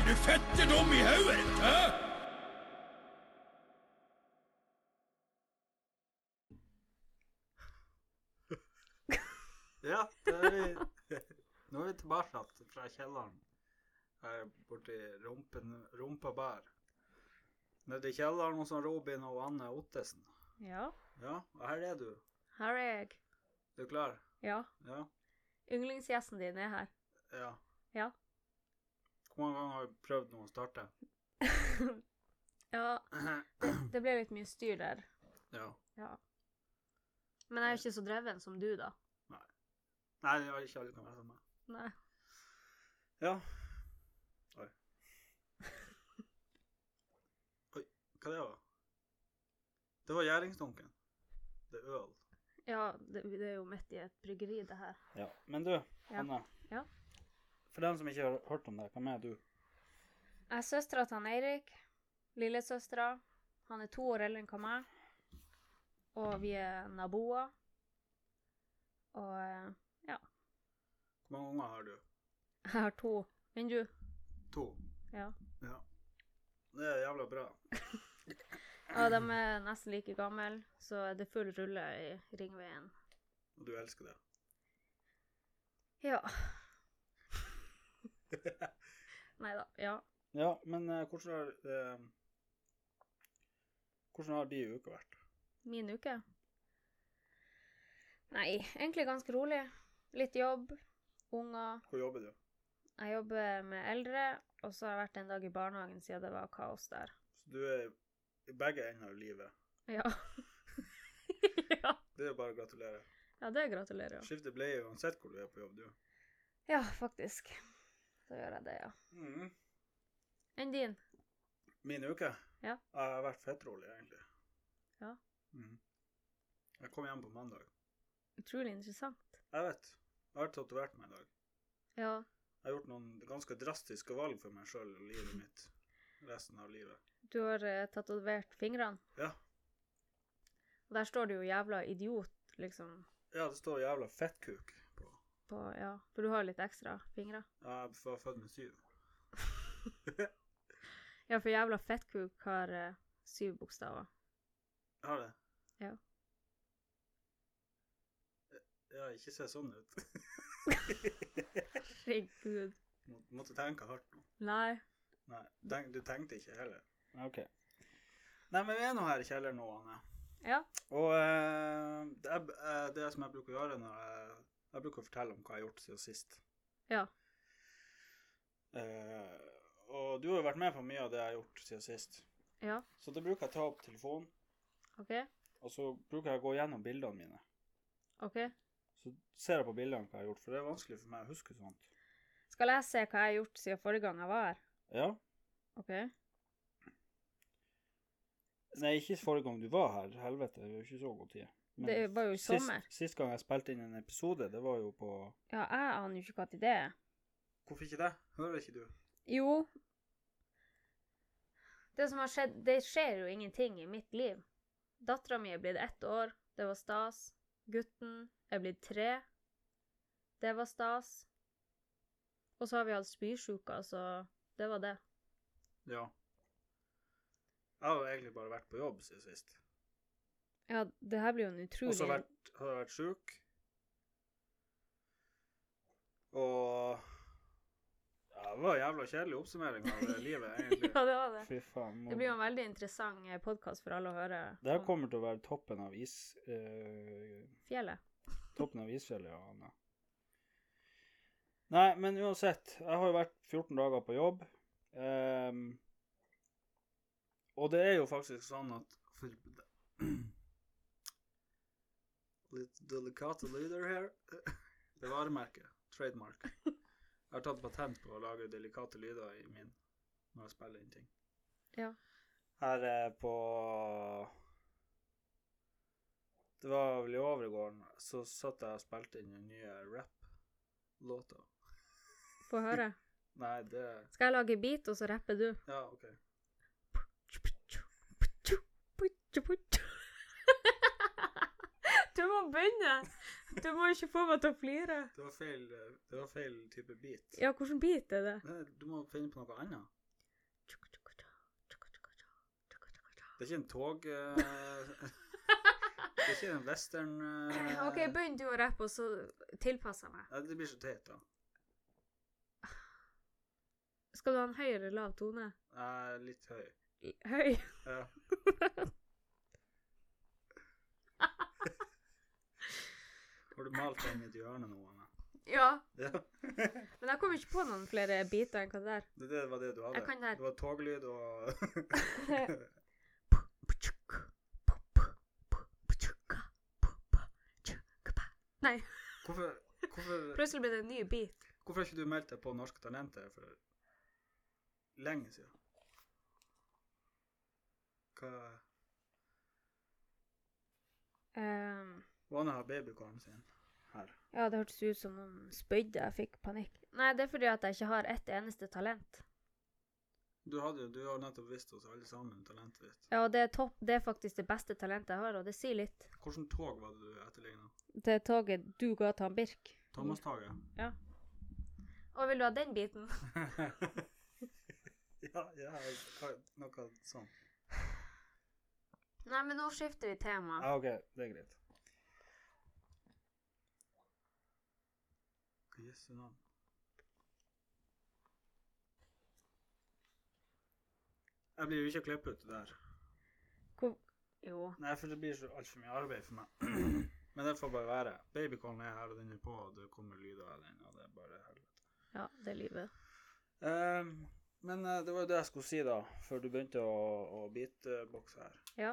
fetterdom i haugen? Hæ? Ja, da er vi, nå er vi tilbake igjen fra kjelleren. Her borti rumpen, rumpa bær. Nede i kjelleren hos han Robin og Anne Ottesen. Ja. Ja, og her er du. Her er jeg. Du er klar? Ja. Ja. Yndlingsgjesten din er her. Ja. Ja. Hvor mange ganger har vi prøvd nå å starte? Ja, det, det ble litt mye styr der. Ja. Ja. Men jeg er ikke så dreven som du, da. Nei, det var ikke alle kan være sammen. Nei. Ja. Oi. Oi, hva det var? Det var gjæringsdunken. Det er øl. Ja, det, det er jo midt i et bryggeri, det her. Ja. Men du, Anne. Ja. For dem som ikke har hørt om det, hvem er du? Jeg er søstera til han Eirik. Lillesøstera. Han er to år eldre enn meg. Og vi er naboer. Og eh, Hvor mange unger har du? jeg har to. Men du? To. Ja. Ja. Det er jævla bra. Ja, de er nesten like gamle, så det er full rulle i ringveien. Og du elsker det. Ja. Nei da. Ja. Ja, men eh, hvordan har eh, Hvordan har de uka vært? Min uke? Nei, egentlig ganske rolig. Litt jobb, unger. Hvor jobber du? Jeg jobber med eldre, og så har jeg vært en dag i barnehagen siden det var kaos der. Så du er i begge ender av livet. Ja. ja. Det er jo bare å gratulere. ja, det gratulerer jeg. Skifter bleie uansett hvor du er på jobb, du. Ja, faktisk. Så gjør jeg det, ja. Mm. Enn din? Min uke? Ja. Jeg har vært fettrolig, egentlig. Ja. Mm. Jeg kom hjem på mandag. Utrolig interessant. Jeg vet. Jeg har tatovert meg i dag. Ja. Jeg har gjort noen ganske drastiske valg for meg sjøl og livet mitt resten av livet. Du har uh, tatovert fingrene. Ja. Og der står det jo 'jævla idiot', liksom. Ja, det står jævla fettkuk på. På, ja. For du har jo litt ekstra fingre. Ja, Jeg var født med syv. Ja, for 'jævla fettkuk' har eh, syv bokstaver. Jeg har det. Ja. Ja, ikke se sånn ut. Herregud. Må- Måtte tenke hardt nå. Nei. Nei, tenk, du tenkte ikke heller. Ok. Nei, men vi er nå her i kjelleren nå, Anne. Ja. Og eh, det, er, eh, det som jeg bruker å gjøre når jeg, jeg bruker å fortelle om hva jeg har gjort siden sist. Ja. Eh, og du har jo vært med på mye av det jeg har gjort siden sist. Ja. Så da bruker jeg å ta opp telefonen, OK. og så bruker jeg å gå gjennom bildene mine. OK. Så ser jeg på bildene hva jeg har gjort, for det er vanskelig for meg å huske sånt. Skal jeg se hva jeg har gjort siden forrige gang jeg var her? Ja. OK. Nei, ikke forrige gang du var her. Helvete, det er jo ikke så god tid. Det var jo i sist, sommer. Sist gang jeg spilte inn en episode, det var jo på Ja, jeg aner jo ikke når det er. Hvorfor ikke det? Hører ikke du? Jo. Det som har skjedd Det skjer jo ingenting i mitt liv. Dattera mi er blitt ett år. Det var stas. Gutten er blitt tre. Det var stas. Og så har vi hatt spysjuka, så det var det. Ja. Jeg har jo egentlig bare vært på jobb siden sist. Ja, det her blir jo en Og utrolig så har jeg vært- har jeg vært sjuk. Og ja, Det var en jævla kjedelig oppsummering av det livet, egentlig. Ja, det var det. Fy faen. Det blir jo en veldig interessant podkast for alle å høre Det her om kommer til å være toppen av is... eh, fjellet. toppen av isfjellet, ja, Anne. Nei, men uansett. Jeg har jo vært 14 dager på jobb. ehm, og det er jo faktisk sånn at for, Litt delikate lyder her. Det er varemerket. Trademark. Jeg har tatt patent på å lage delikate lyder i min når jeg spiller inn ting. Ja. Her eh, på Det var vel i overgården, så satt jeg og spilte inn den nye rap-låta. Få høre. Nei, det Skal jeg lage beat, og så rapper du? Ja, OK. Du må begynne! Du må ikke få meg til å flire. Det var feil, eh, det var feil type beat. Ja, hvilken bit er det? Nei, Du må finne på noe annet. Det er ikke en tog eh, Det er ikke en western eh, OK, begynn du å rappe, og så tilpasser jeg meg. Nei, Det blir så teit, da. Skal du ha en høy eller lav tone? Nei, litt høy. Høy. Ja. Har du malt den i et hjørne nå? Anne? Ja. Ja. Men jeg kommer ikke på noen flere biter enn hva det der. Det det var det du hadde? Jeg kan det her. Det var toglyd og Nei, Hvorfor, hvorfor, plutselig blir det en ny beat. hvorfor har ikke du meldt deg på Norske Talenter for lenge siden? Hva Ehm, Anne har babykorn sin her. ja, det hørtes ut som noen spydde. Jeg fikk panikk. Nei, det er fordi at jeg ikke har ett eneste talent. Du, hadde, jo- du har nettopp vist oss alle sammen talentet ditt. Ja, og det er, topp, det er faktisk det beste talentet jeg har, og det sier litt. Hvilket tog var det du etterligna? Det toget du ga til han Birk. Thomas-toget? Og vil du ha den biten? ja, ja, jeg har noe sånt. Nei, men nå skifter vi tema. Ja, Ah, OK, det er greit. Hva Jesu navn. Jeg blir jo ikke klippet ut det der. Hvor... Jo. Nei, for det blir så altfor mye arbeid for meg. Men det får bare være. Babycallen er her, og den er på, og det kommer lyder av den, og det er bare helvete. Ja, det er livet. Ehm, men eh, det var jo det jeg skulle si, da, før du begynte å, å beatboxe her, Ja.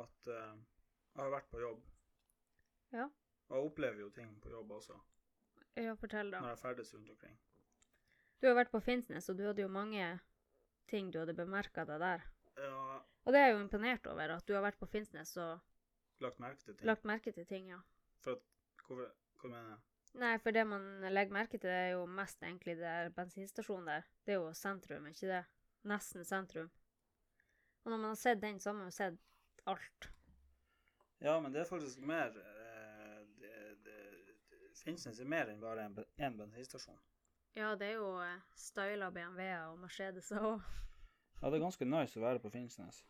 at eh, jeg har vært på jobb. Ja. Og jeg opplever jo ting på jobb også, Ja, fortell, da. når jeg ferdes rundt omkring. Du har vært på Finnsnes, og du hadde jo mange ting du hadde bemerka deg der. Ja, Og det er jeg jo imponert over, at du har vært på Finnsnes og lagt merke til ting. lagt merke til ting, ja. For at, hvorfor, hva mener jeg? Nei, for det man legger merke til, er jo mest egentlig det er bensinstasjonen der. Det er jo sentrum, er ikke det? Nesten sentrum. Og når man har sett den, så har man jo sett alt. Ja, men det er faktisk mer eh, det, det, det, Finnsnes er mer enn bare en, ben- en bensinstasjon. Ja, det er jo eh, styla BMW-er og Mercedeser òg. Ja, det er ganske nice å være på Finnsnes.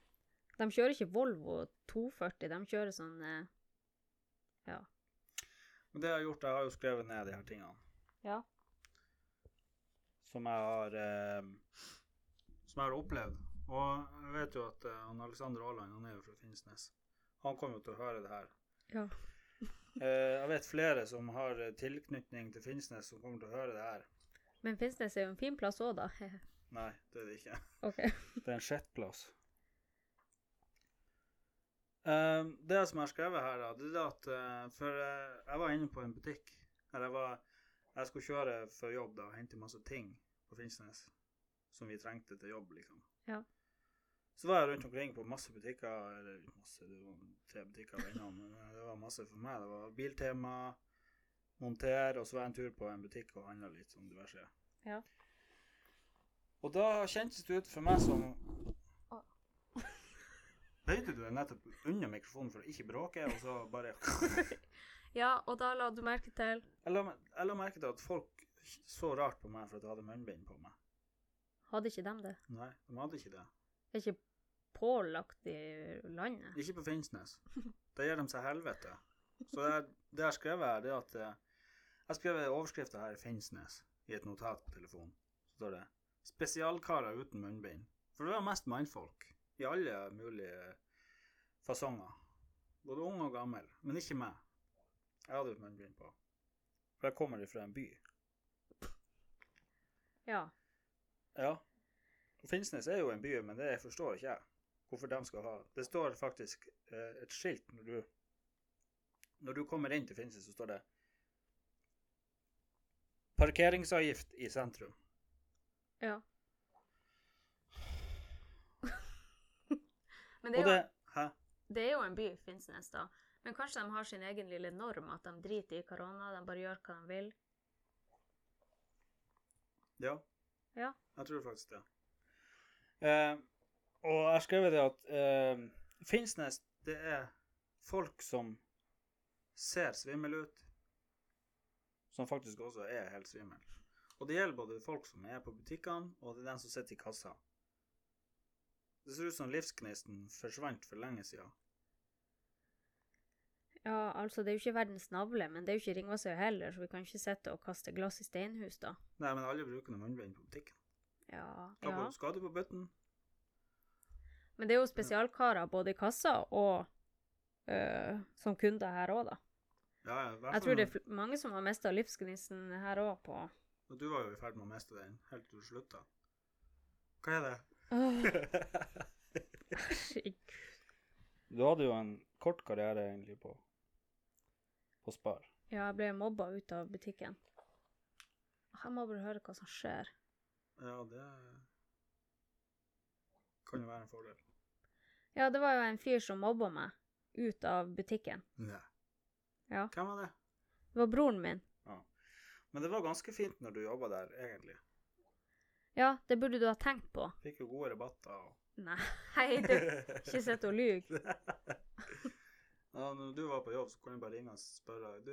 De kjører ikke Volvo 240, de kjører sånn eh, Men det jeg har gjort, jeg har jo skrevet ned de her tingene. Ja. Som jeg har eh, Som jeg har opplevd. Og jeg vet jo at eh, han Alexander Aaland, han er jo fra Finnsnes. Han kommer jo til å høre det her. Ja. Eh, jeg vet flere som har eh, tilknytning til Finnsnes, som kommer til å høre det her. Men Finnsnes er jo en fin plass òg, da. Nei, det er det ikke. OK. Det er en sjettplass. Um, det som jeg har skrevet her, da, det er at eh, For eh, jeg var inne på en butikk. Eller jeg var Jeg skulle kjøre for jobb da, og hente masse ting på Finnsnes som vi trengte til jobb, liksom. Ja. Så var jeg rundt omkring på masse butikker, eller masse, det var tre butikker av innom, men eh, det var masse for meg. Det var Biltema, Monter, og så var jeg en tur på en butikk og handla litt sånn diverse. Ja. Og da kjentes det ut for meg som Bøyde du deg nettopp unna mikrofonen for å ikke bråke, og så bare Ja, og da la du merke til Jeg la, jeg la merke til at folk så rart på meg for at jeg hadde munnbind på meg. Hadde ikke dem det? Nei, de hadde ikke det. Det er ikke pålagt i landet. Ikke på Finnsnes. Da gir de seg helvete. Så det, er- det jeg skrev her, det er at eh, Jeg skrev overskrifta her i Finnsnes i et notat på telefonen. Så står det 'Spesialkarer uten munnbind'. For det var mest mannfolk. I alle mulige eh, fasonger. Både ung og gammel. Men ikke meg. Jeg hadde et munnbind på. For jeg kommer ifra en by. Ja. Ja. Og Finnsnes er jo en by, men det forstår ikke jeg. Hvorfor de skal ha Det står faktisk eh, et skilt når du Når du kommer inn til Finnsnes, så står det 'Parkeringsavgift i sentrum'. ja. Men det Og er, det jo, Hæ? det er jo en by, Finnsnes, da. Men kanskje de har sin egen lille norm, at de driter i korona, de bare gjør hva de vil. Ja. Ja. Jeg tror faktisk det. Eh, og jeg har skrevet det at eh, Finnsnes, det er folk som ser svimmel ut, som faktisk også er helt svimmel. Og det gjelder både folk som er på butikkene, og det er den som sitter i kassa. Det ser ut som livsgnisten forsvant for lenge siden. Ja, altså, det er jo ikke verdens navle, men det er jo ikke Ringvassøy heller, så vi kan ikke sitte og kaste glass i steinhus, da. Nei, men alle bruker noe munnbind på butikken. Ja, Hva ja. på skade på bøtten? Men det er jo spesialkarer både i kassa og øh, som kunder her òg, da. Ja, ja, i hvert Jeg fall- tror det er fl- mange som har mista livsgnisten her òg, på Og du var jo i ferd med å miste den helt til du slutta. Hva er det? Åh, herregud. Du hadde jo en kort karriere egentlig på, på Spar. Ja, jeg ble mobba ut av butikken. Åh, Jeg må bare høre hva som skjer. ja, det kan jo være en fordel. Ja, det var jo en fyr som mobba meg ut av butikken. Nei. Ja. Hvem var det? Det var broren min. Men det var ganske fint når du jobba der, egentlig. Ja, det burde du ha tenkt på. Fikk jo gode rabatter og Nei, du, ikke sitt og lyv. ja, Når du var på jobb, så kunne jeg bare ringe og spørre Du,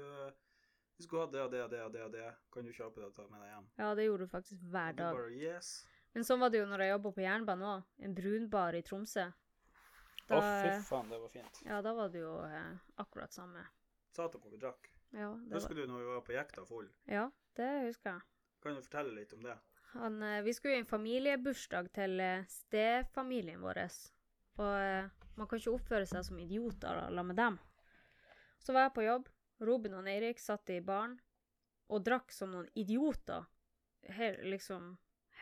vi skulle ha det og det og det og det, og det. Kan du kjøpe det og ta med deg hjem? Ja, det gjorde du faktisk hver Og du dag. bare yes. Men sånn var det jo når jeg jobba på jernbanen òg. En brunbar i Tromsø. Å, Da, fy faen, det var fint. ja, da var det jo eh, akkurat samme. Sa dere hvor vi drakk? Ja, det var, Husker du når vi var på jekta full? ja, det husker jeg. Kan du fortelle litt om det? Han, eh, vi skulle i en familiebursdag til eh, stefamilien vår. Og eh, man kan ikke oppføre seg som idioter da, la med dem. Så var jeg på jobb. Robin og Eirik satt i baren og drakk som noen idioter. Helt, liksom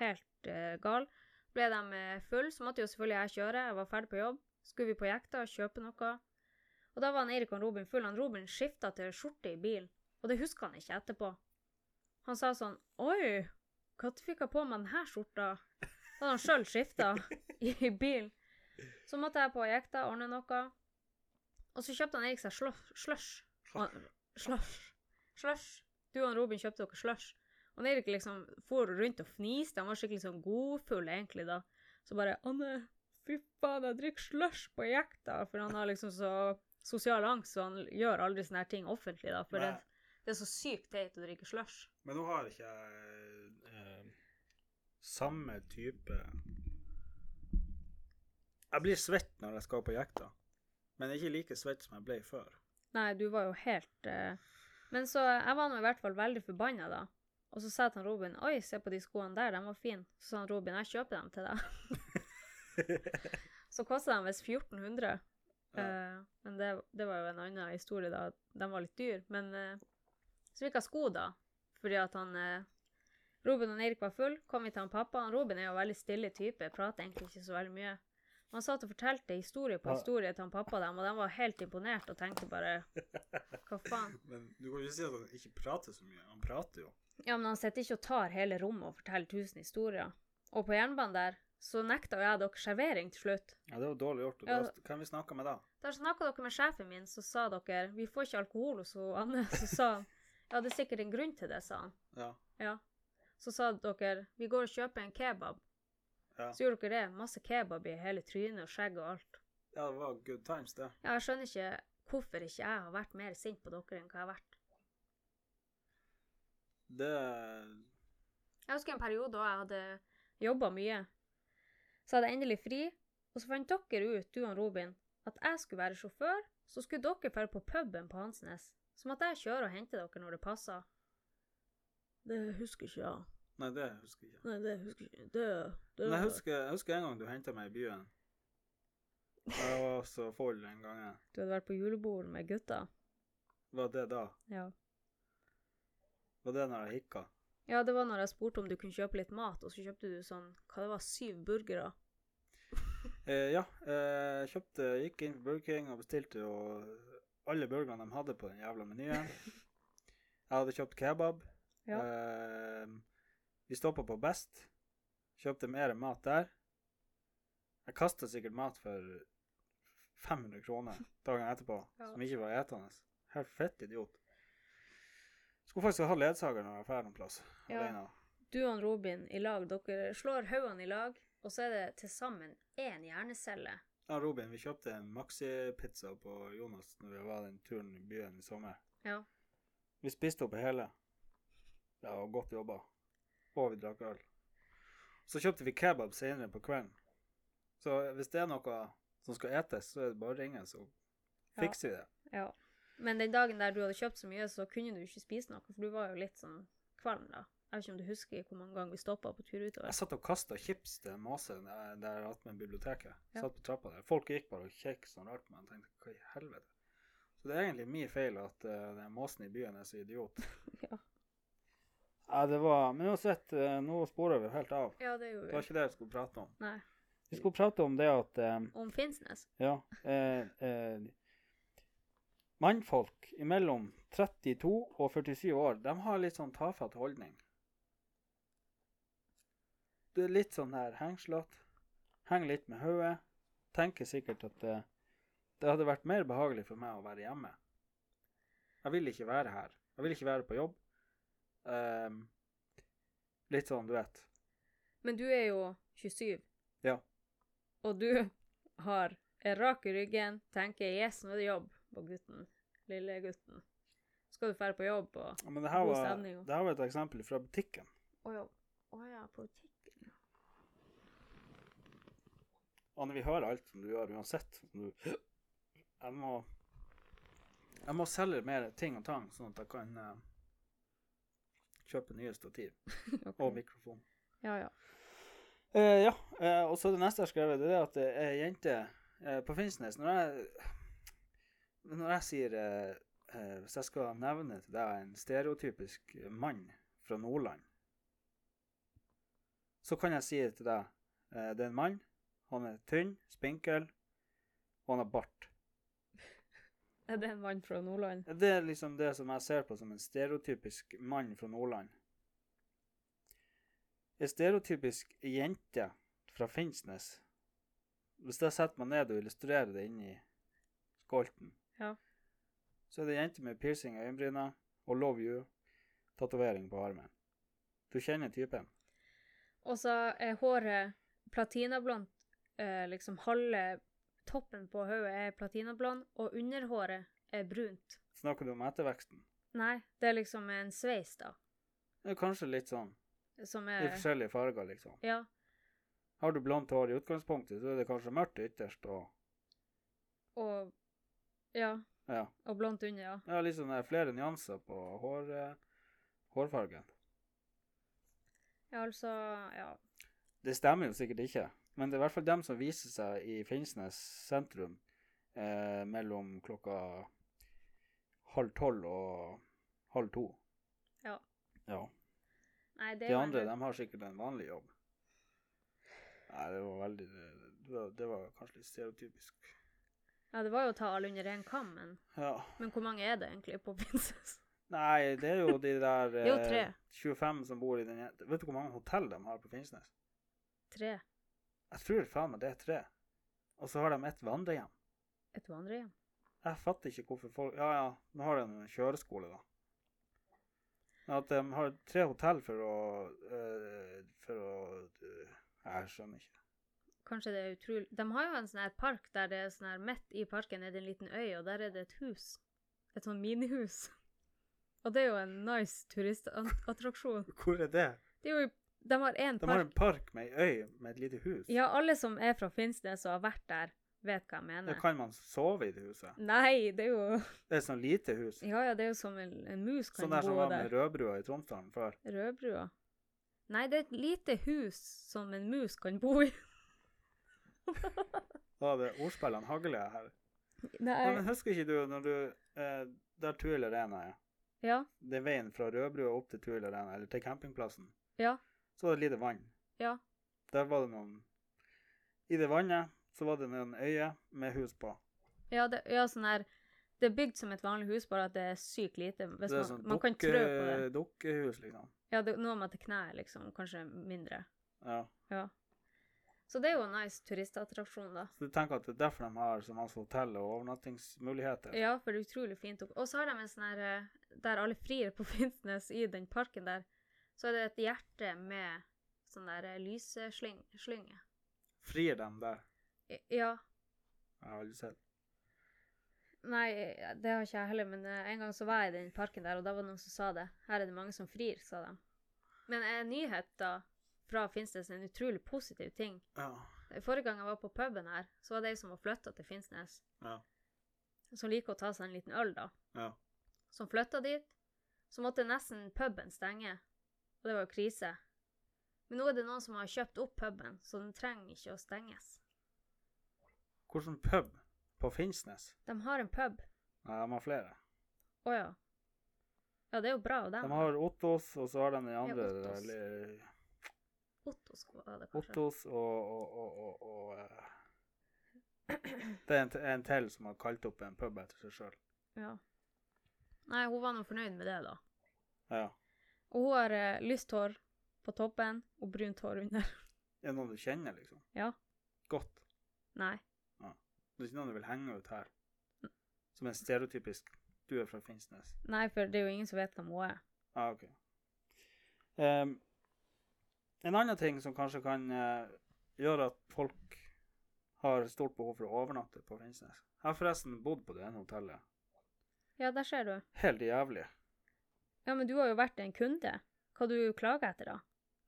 helt eh, gal. Ble de eh, full, så måtte jo selvfølgelig jeg kjøre. Jeg var ferdig på jobb. Skulle vi på jekta og kjøpe noe. Og da var han Eirik og han Robin full. Han Robin skifta til skjorte i bilen. Og det husker han ikke etterpå. Han sa sånn Oi, når fikk jeg på meg denne skjorta? Da hadde han sjøl skifta i bilen. Så måtte jeg på jekta, ordne noe. Og så kjøpte han Erik seg slå- slush. Og han- Slush. Slush. Du og Robin kjøpte dere slush. Og Erik liksom for rundt og fniste. Han var skikkelig sånn godfull egentlig da. Så bare Anne, fy faen, jeg drikker slush på jekta. For han har liksom så sosial angst, så han gjør aldri sånne her ting offentlig, da. For det, Nei. det er så sykt teit å drikke slush. Men nå har ikke jeg eh, samme type Jeg blir svett når jeg skal på jekta, men ikke like svett som jeg ble før. Nei, du var jo helt eh, Men så jeg var nå i hvert fall veldig forbanna da. Og så sa jeg til han Robin Oi, se på de skoene der, de var fine. Så sa han Robin jeg kjøper dem til deg. så kosta de visst 1400. Ja. Eh, men det, det var jo en annen historie, da. De var litt dyre. Men eh, så fikk jeg sko, da. Fordi at han eh, Robin og Eirik var full, kom vi til han pappa. Han Robin er jo en veldig stille type, prater egentlig ikke så veldig mye. Men Han satt og fortalte historie på Ja. historie til han pappa og dem, og de var helt imponert og tenkte bare Hva faen? Men du kan jo ikke si at han ikke prater så mye. Han prater jo. Ja, men han sitter ikke og tar hele rommet og forteller tusen historier. Og på jernbanen der så nekta jo jeg dere servering til slutt. Ja, det var dårlig gjort. og Ja. da- Hvem vi snakka med da? Der snakka dere med sjefen min, så sa dere Vi får ikke alkohol hos hun Anne. Så sa han Ja, det er sikkert en grunn til det, sa han. Ja. Ja. Så sa dere Vi går og kjøper en kebab. Ja. Så gjorde dere det. Masse kebab i hele trynet og skjegg og alt. ja, det var good times, det. Ja, jeg skjønner ikke hvorfor ikke jeg har vært mer sint på dere enn hva jeg har vært. Det Jeg husker en periode da jeg hadde jobba mye. Så hadde jeg endelig fri, og så fant dere ut, du og Robin, at jeg skulle være sjåfør, så skulle dere dra på puben på Hansnes. Som at jeg kjører og henter dere når det passer. Det husker ikke jeg. Nei, det husker jeg ikke. Nei, det husker ikke Det, Men jeg husker, jeg husker en gang du henta meg i byen. Jeg var så full den gangen. Du hadde vært på julebord med gutta. Var det da? Ja. Var det når jeg hikka? ja, det var når jeg spurte om du kunne kjøpe litt mat, og så kjøpte du sånn Hva det var, syv burgere? Eh, ja, eh, jeg kjøpte, gikk inn på Burger King og bestilte jo alle burgerne de hadde på den jævla menyen. Jeg hadde kjøpt kebab. Ja. Eh, vi stoppa på Best. Kjøpte mer mat der. Jeg kasta sikkert mat for 500 kroner dagen etterpå, Ja. som ikke var etende. Helt fett idiot. Skulle faktisk ha ledsager når jeg drar noen plass Ja. alene. du og han Robin i lag, dere slår hodene i lag, og så er det til sammen én hjernecelle. Ja, Robin, vi kjøpte en maxipizza på Jonas når vi var den turen i byen i sommer. Ja. Vi spiste opp hele. Det var godt jobba. Og vi drakk øl. Så kjøpte vi kebab senere på kvelden. Så hvis det er noe som skal etes, så er det bare å ringe, så fikser vi det. Ja. Men den dagen der du hadde kjøpt så mye, så kunne du ikke spise noe, for du var jo litt sånn kvalm da. Jeg vet ikke om du husker hvor mange ganger vi stoppa på tur utover. Jeg satt og kasta chips til Mase der der jeg hatt med biblioteket. Ja. Satt på trappa der. Folk gikk bare og kjekk sånn rart på meg. Jeg tenkte hva i helvete. Så det er egentlig min feil at eh, den måsen i byen er så idiot. Ja, det var Men uansett, eh, nå sporer vi helt av. Ja, det Det gjorde vi. var ikke det jeg skulle prate om. Nei. Vi skulle prate om det at eh, Om Finnsnes. Ja. Eh, eh, mannfolk mellom 32 og 47 år, de har litt sånn tafatt holdning. Det er litt sånn her hengslått. Henger litt med hodet. Tenker sikkert at eh, det hadde vært mer behagelig for meg å være hjemme. Jeg vil ikke være her. Jeg vil ikke være på jobb. Ehm, litt sånn, du vet. Men du er jo 27. Ja. Og du har er rak i ryggen, tenker 'yes, nå er det jobb' på gutten. Lille gutten. Skal du dra på jobb og Ja, Men det her, God var, stemning, jo. det her var et eksempel fra butikken. Å ja. Å ja, på butikken. Anne, vi hører alt som du gjør uansett. om Du, jeg må Jeg må selge mer ting og tang, sånn at jeg kan eh, kjøpe nye stativ og Mm. mikrofon. Ja, ja. Eh, ja, eh, og så det neste jeg har skrevet, det er at det er ei jente eh, på Finnsnes Når jeg, når jeg sier eh, eh, Hvis jeg skal nevne til deg en stereotypisk mann fra Nordland, så kan jeg si til deg eh, Det er en mann. Han er tynn, spinkel, og han har bart. Er det en mann fra Nordland? Det er liksom det som jeg ser på som en stereotypisk mann fra Nordland. En stereotypisk jente fra Finnsnes Hvis jeg setter meg ned og illustrerer det inni skolten, Ja. så er det ei jente med piercing i øyenbryna og 'Love You'-tatovering på armen. Du kjenner typen. Og så er håret platinablondt. Eh, liksom halve toppen på hodet er platinablond, og underhåret er brunt. Snakker du om etterveksten? Nei, det er liksom en sveis, da. Det er kanskje litt sånn Som i er forskjellige farger, liksom. Ja. Har du blondt hår i utgangspunktet, så er det kanskje mørkt ytterst og Og Ja. Ja. Og blondt under, ja. Ja, liksom det er flere nyanser på hår, eh, hårfargen. Ja, altså Ja. Det stemmer jo sikkert ikke, men det er i hvert fall dem som viser seg i Finnsnes sentrum eh, mellom klokka halv tolv og halv to. Ja. Ja. Nei, det er De jo andre en- de har sikkert en vanlig jobb. Nei, det var veldig Det var, det var kanskje litt stereotypisk. Ja, det var jo å ta alle under én kam, men, Ja. men hvor mange er det egentlig på Prinsess? Nei, det er jo de der er jo eh, tre. 25 som bor i den Vet du hvor mange hotell de har på Finnsnes? Tre. Jeg tror faen meg det er tre. Og så har de et vandrehjem. Et vandrehjem. Jeg fatter ikke hvorfor folk Ja ja, nå har de en kjøreskole, da. Men at de har tre hotell for å eh, For å eh, Jeg skjønner ikke. Kanskje det er utrolig De har jo en sånn her park der det er sånn her midt i parken er det en liten øy, og der er det et hus. Et sånn minihus. Og det er jo en nice turistattraksjon. Hvor er det? Det er jo i- De har én De har en park. park med ei øy med et lite hus. Ja, alle som er fra Finnsnes og har vært der, vet hva jeg mener. Da kan man sove i det huset. Nei, det er jo Det er et sånt lite hus. Ja ja, det er jo som en, en mus kan Sånn der som bo var der. med rødbrua i Tromsdalen før. Rødbrua? Nei, det er et lite hus som en mus kan bo i. Da var det ordspillene hagla her. Nei, Nei. men husker ikke du når du eh, Der Tuil Arena er? Ja, det er veien fra Rødbrua opp til Tuil Arena, eller til campingplassen, ja, så var det lite vann. ja. Der var det noen I det vannet så var det noen øyer med hus på. Ja, det, ja sånn her Det er bygd som et vanlig hus, bare at det er sykt lite. Hvis det er man, sånn man kan trø på det. dukkehus, liksom. Ja, det når man til kneet, liksom. Kanskje mindre. Ja. Ja. Så det er jo en nice turistattraksjon, da. Så du tenker at det er derfor de har så masse hotell og overnattingsmuligheter? Ja, for det er utrolig fint. å- Og så har de en sånn her eh, Der alle frir på Finnsnes, i den parken der, så er det et hjerte med sånn der eh, lyseslynge. Frir dem der? I- Ja. Jeg har aldri sett. Nei, det har ikke jeg heller, men eh, en gang så var jeg i den parken der, og da var det noen som sa det. Her er det mange som frir, sa de. Men en eh, nyhet da, fra Finnsnes en utrolig positiv ting. Ja. Forrige gang jeg var på puben her, så var det ei som var flytta til Finnsnes, Ja. som liker å ta seg en liten øl, da. Ja. Som flytta dit. Så måtte nesten puben stenge, og det var jo krise. Men nå er det noen som har kjøpt opp puben, så den trenger ikke å stenges. Hvordan pub på Finnsnes? De har en pub. Nei, de har flere. Å ja. Ja, det er jo bra av De dem. har Ottos, og så har de den andre Ottos. eller- Ottos var det kanskje. Ottos og, og, og, og, og eh, Det er en, t- en til som har kalt opp en pub etter seg sjøl. Ja. Nei, hun var nå fornøyd med det, da. Ja. Og hun har eh, lyst hår på toppen og brunt hår under. Er det noen du kjenner, liksom? Ja. Godt. Nei. Det er ikke noen du vil henge ut her? Som en stereotypisk Du er fra Finnsnes. Nei, for det er jo ingen som vet hvem hun er. Ja, OK. Ehm, en annen ting som kanskje kan eh, gjøre at folk har stort behov for å overnatte på Finnsnes Jeg har forresten bodd på det ene hotellet. Ja, der ser du. Helt jævlig. Ja, men du har jo vært en kunde. Hva du klager etter, da?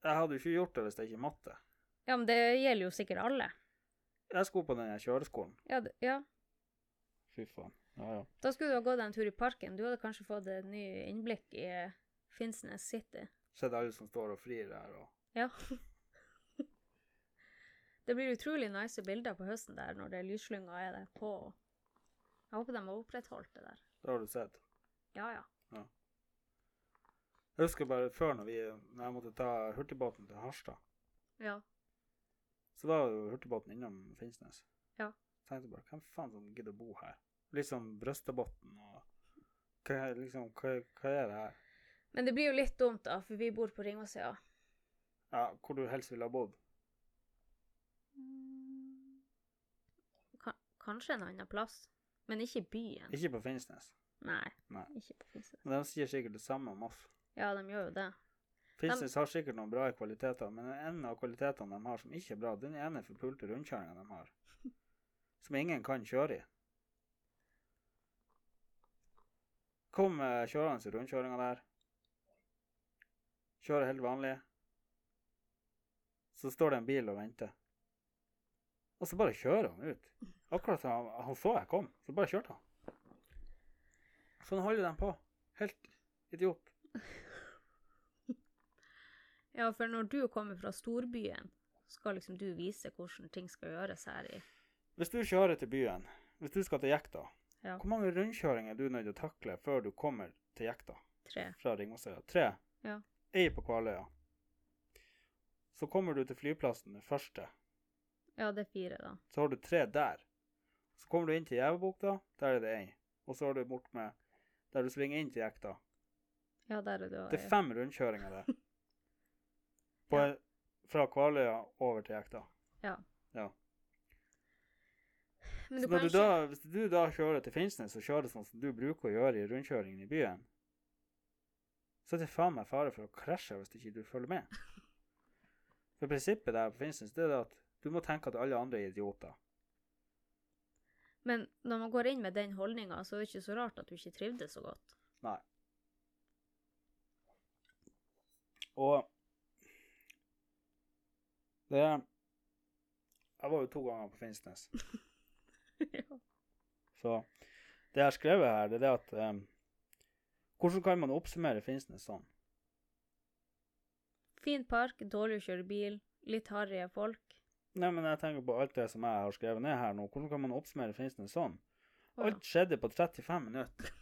Jeg hadde jo ikke gjort det hvis jeg ikke måtte. Ja, men det gjelder jo sikkert alle. Jeg skulle på den her kjøreskolen. Ja, det, ja. Fy faen. Ja, ja. Da skulle du ha gått en tur i parken. Du hadde kanskje fått et ny innblikk i eh, Finnsnes City. Sett alle som står og frir der, og Ja. det blir utrolig nice bilder på høsten der når det er lyslynga er der på. Jeg håper de har opprettholdt det der. det har du sett. Ja, ja. Jeg husker bare før når, vi, når jeg måtte ta hurtigbåten til Harstad. Ja. Så da var jo hurtigbåten innom Finnsnes. Ja. Tenkte bare, hvem faen som gidder å bo her? Litt sånn Brøstadbotn og hva, er- liksom, hva, hva er det her? Men det blir jo litt dumt, da, for vi bor på Ringåsøya. Ja, hvor du helst ville ha bodd. Ka- Kanskje en annen plass, men ikke i byen. Ikke på Finnsnes. Nei, Nei. ikke på Finnsnes. Men de sier sikkert det samme om oss. Ja, de gjør jo det. Finnsnes har sikkert noen bra kvaliteter, men en av kvalitetene de har som ikke er bra, den ene forpulte rundkjøringa de har, som ingen kan kjøre i. Kom eh, kjørende i rundkjøringa der. Kjører helt vanlig. Så står det en bil og venter. Og så bare kjører han ut. Akkurat som han, han så jeg kom, så bare kjørte han. Sånn holder de på. Helt idiot. Ja, for når du kommer fra storbyen, skal liksom du vise hvordan ting skal gjøres her i Hvis du kjører til byen, hvis du skal til jekta, Ja. hvor mange rundkjøringer er du nødt til å takle før du kommer til jekta tre. fra Ringvassøya? Tre? Ja. Ei på Kvaløya. Så kommer du til flyplassen den første, Ja, det er fire, da. så har du tre der. Så kommer du inn til Gjevebukta, der er det ei. Og så har du bort med der du svinger inn til jekta. Ja, der er du. Det er fem rundkjøringer der. På, Fra Kvaløya over til jekta. Men Så du når kan du ikke da, hvis du da kjører til Finnsnes og kjører sånn som du bruker å gjøre i rundkjøringen i byen, så er det faen meg fare for å krasje hvis ikke du følger med. For prinsippet der på Finnsnes det er det at du må tenke at alle andre er idioter. Men når man går inn med den holdninga, så er det ikke så rart at du ikke trivdes så godt. Nei. Og det Jeg var jo to ganger på Finnsnes. Ja. Så det jeg har skrevet her, det er det at eh, Hvordan kan man oppsummere Finnsnes sånn? Fin park, dårlig å kjøre bil, litt harrige folk. Nei, men jeg tenker på alt det som jeg har skrevet ned her nå. Hvordan kan man oppsummere Finnsnes sånn? Å, Alt skjedde på 35 minutter.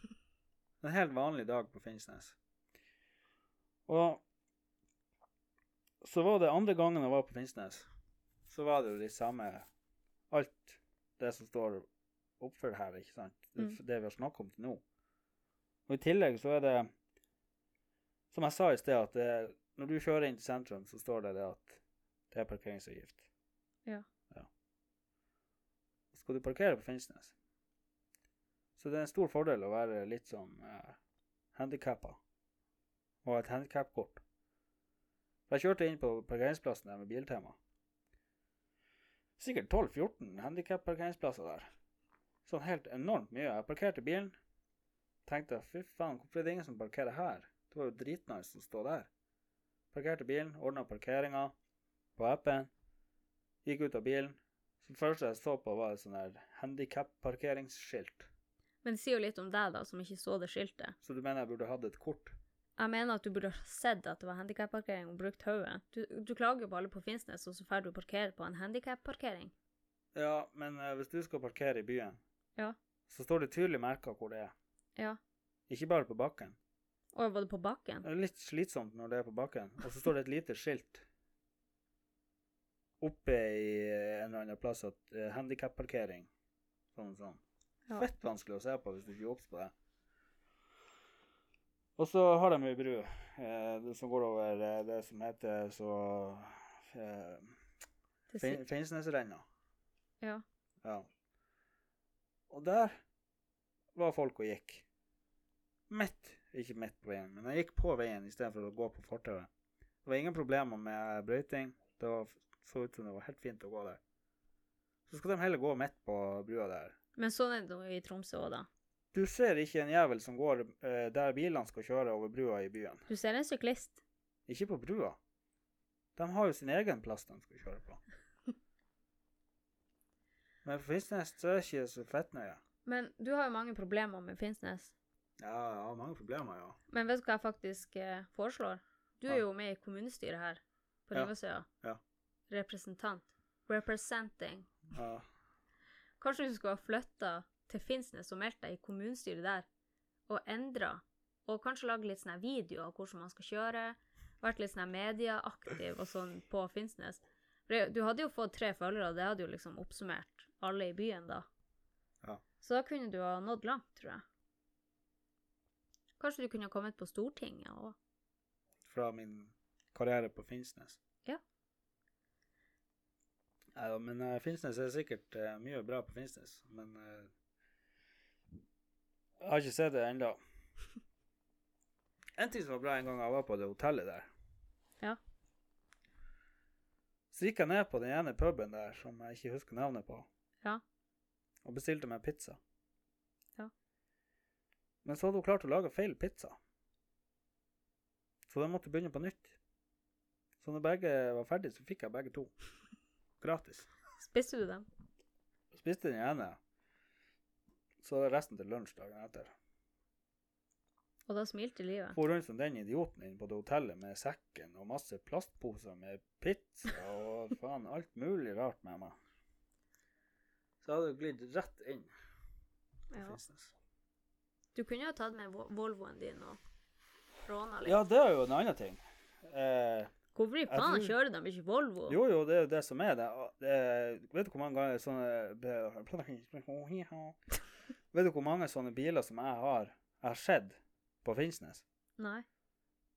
En helt vanlig dag på Finnsnes. Og så var det andre gangen jeg var på Finnsnes, så var det jo de samme Alt det som står oppfor her, ikke sant? Det, Mm. det vi har snakket om til nå. Og i tillegg så er det Som jeg sa i sted, at det, når du kjører inn til sentrum, så står det det at det er parkeringsavgift. Ja. ja. Skal du parkere på Finnsnes, så det er en stor fordel å være litt sånn eh, handikappa og ha et handikapkort. Jeg kjørte inn på parkeringsplassen der med Biltema. Sikkert 12-14 handikapparkeringsplasser der. Sånn helt enormt mye. Jeg parkerte bilen. Tenkte fy faen, hvorfor er det ingen som parkerer her? Det var jo dritnice å stå der. Parkerte bilen, ordna parkeringa, på appen, gikk ut av bilen. Det første jeg så på, var et sånn her handikap-parkeringsskilt. Men det sier jo litt om deg, da, som ikke så det skiltet. Så du mener jeg burde hatt et kort? Jeg mener at du burde ha sett at det var handikapparkering og brukt hodet. Du, du klager på alle på Finnsnes, og så får du parkere på en handikapparkering. Ja, men eh, hvis du skal parkere i byen, Ja. så står det tydelig merka hvor det er. Ja. Ikke bare på bakken. Og var det på bakken? Det er litt slitsomt når det er på bakken. Og så står det et lite skilt oppe i en eller annen plass at uh, handikapparkering. Sånn og sånn. Ja. Fett vanskelig å se på hvis du ikke er obs på det. Og så har de ei bru eh, det som går over eh, det som heter så eh, Det sier- Fein- Finnsnesrenna. Ja. Ja. Og der var folk og gikk. Midt, ikke midt på veien, men jeg gikk på veien istedenfor å gå på fortauet. Det var ingen problemer med brøyting. Det var, så ut som det var helt fint å gå der. Så skal de heller gå midt på brua der. Men sånn er det jo i Tromsø òg, da. Du ser ikke en jævel som går eh, der bilene skal kjøre over brua i byen. Du ser en syklist. Ikke på brua. De har jo sin egen plass de skal kjøre på. Men på Finnsnes så er det ikke så fett nøye. Men du har jo mange problemer med Finnsnes. Ja, jeg har mange problemer, ja. Men vet du hva jeg faktisk eh, foreslår? Du er Ja. jo med i kommunestyret her på Ja. Rivasøya. Ja. Representant. Representing. ja. Kanskje du skulle ha flytta til Finnsnes og meldt deg i kommunestyret der, og endra. Og kanskje lage litt sånne videoer av hvordan man skal kjøre. Vært litt sånn her medieaktiv og sånn på Finnsnes. For det- Du hadde jo fått tre følgere, og det hadde jo liksom oppsummert alle i byen da. Ja. Så da kunne du ha nådd langt, tror jeg. Kanskje du kunne ha kommet på Stortinget og Fra min karriere på Finnsnes. Ja. Nei da, men eh, Finnsnes er sikkert eh, mye bra på Finnsnes, men eh, Jeg har ikke sett det ennå. En ting som var bra en gang jeg var på det hotellet der. Ja. Så gikk jeg ned på den ene puben der som jeg ikke husker navnet på. Ja. Og bestilte meg pizza. Ja. Men så hadde hun klart å lage feil pizza. Så de måtte begynne på nytt. Så når begge var ferdig, så fikk jeg begge to. Gratis. Spiste du dem? Spiste den ene. Så hadde jeg resten til lunsj dagen etter. Og da smilte livet. For rundt som den idioten inne på det hotellet med sekken og masse plastposer med pizza og faen alt mulig rart med meg. Så jeg hadde jo glidd rett inn på Ja. Finnsnes. Du kunne jo ha tatt med Vol- Volvoen din og råna litt. Ja, det er jo en annen ting. Eh, Hvorfor i Jeg faen tror- kjører de ikke Volvo? jo, jo, det er jo det som er det. det er- vet du hvor mange ganger sånne Vet du hvor mange sånne biler som jeg har, jeg har sett på Finnsnes? Nei.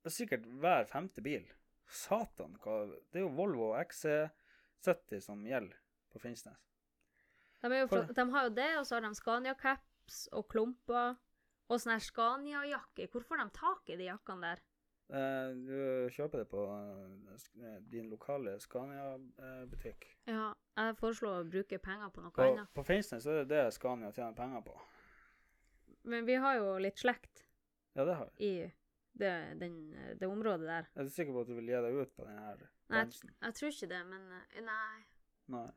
Det er sikkert hver femte bil. Satan, hva Det er jo Volvo XC70 som gjelder på Finnsnes. De, er jo For- fra, de har jo det, og så har de Scania-caps og klumper. Og sånn her Scania-jakke. Hvor får de tak i de jakkene der? Eh, du kjøper det på eh, sk- din lokale Scania-butikk. Ja, jeg foreslår å bruke penger på noe På, annet. på Finnsnes er det det Scania tjener penger på. Men vi har jo litt slekt Ja, det har vi. i det, den, det området der. Er du sikker på at du vil gi deg ut på den her Nei, bremsen? jeg, jeg tror ikke det, men eh, Nei. Nei.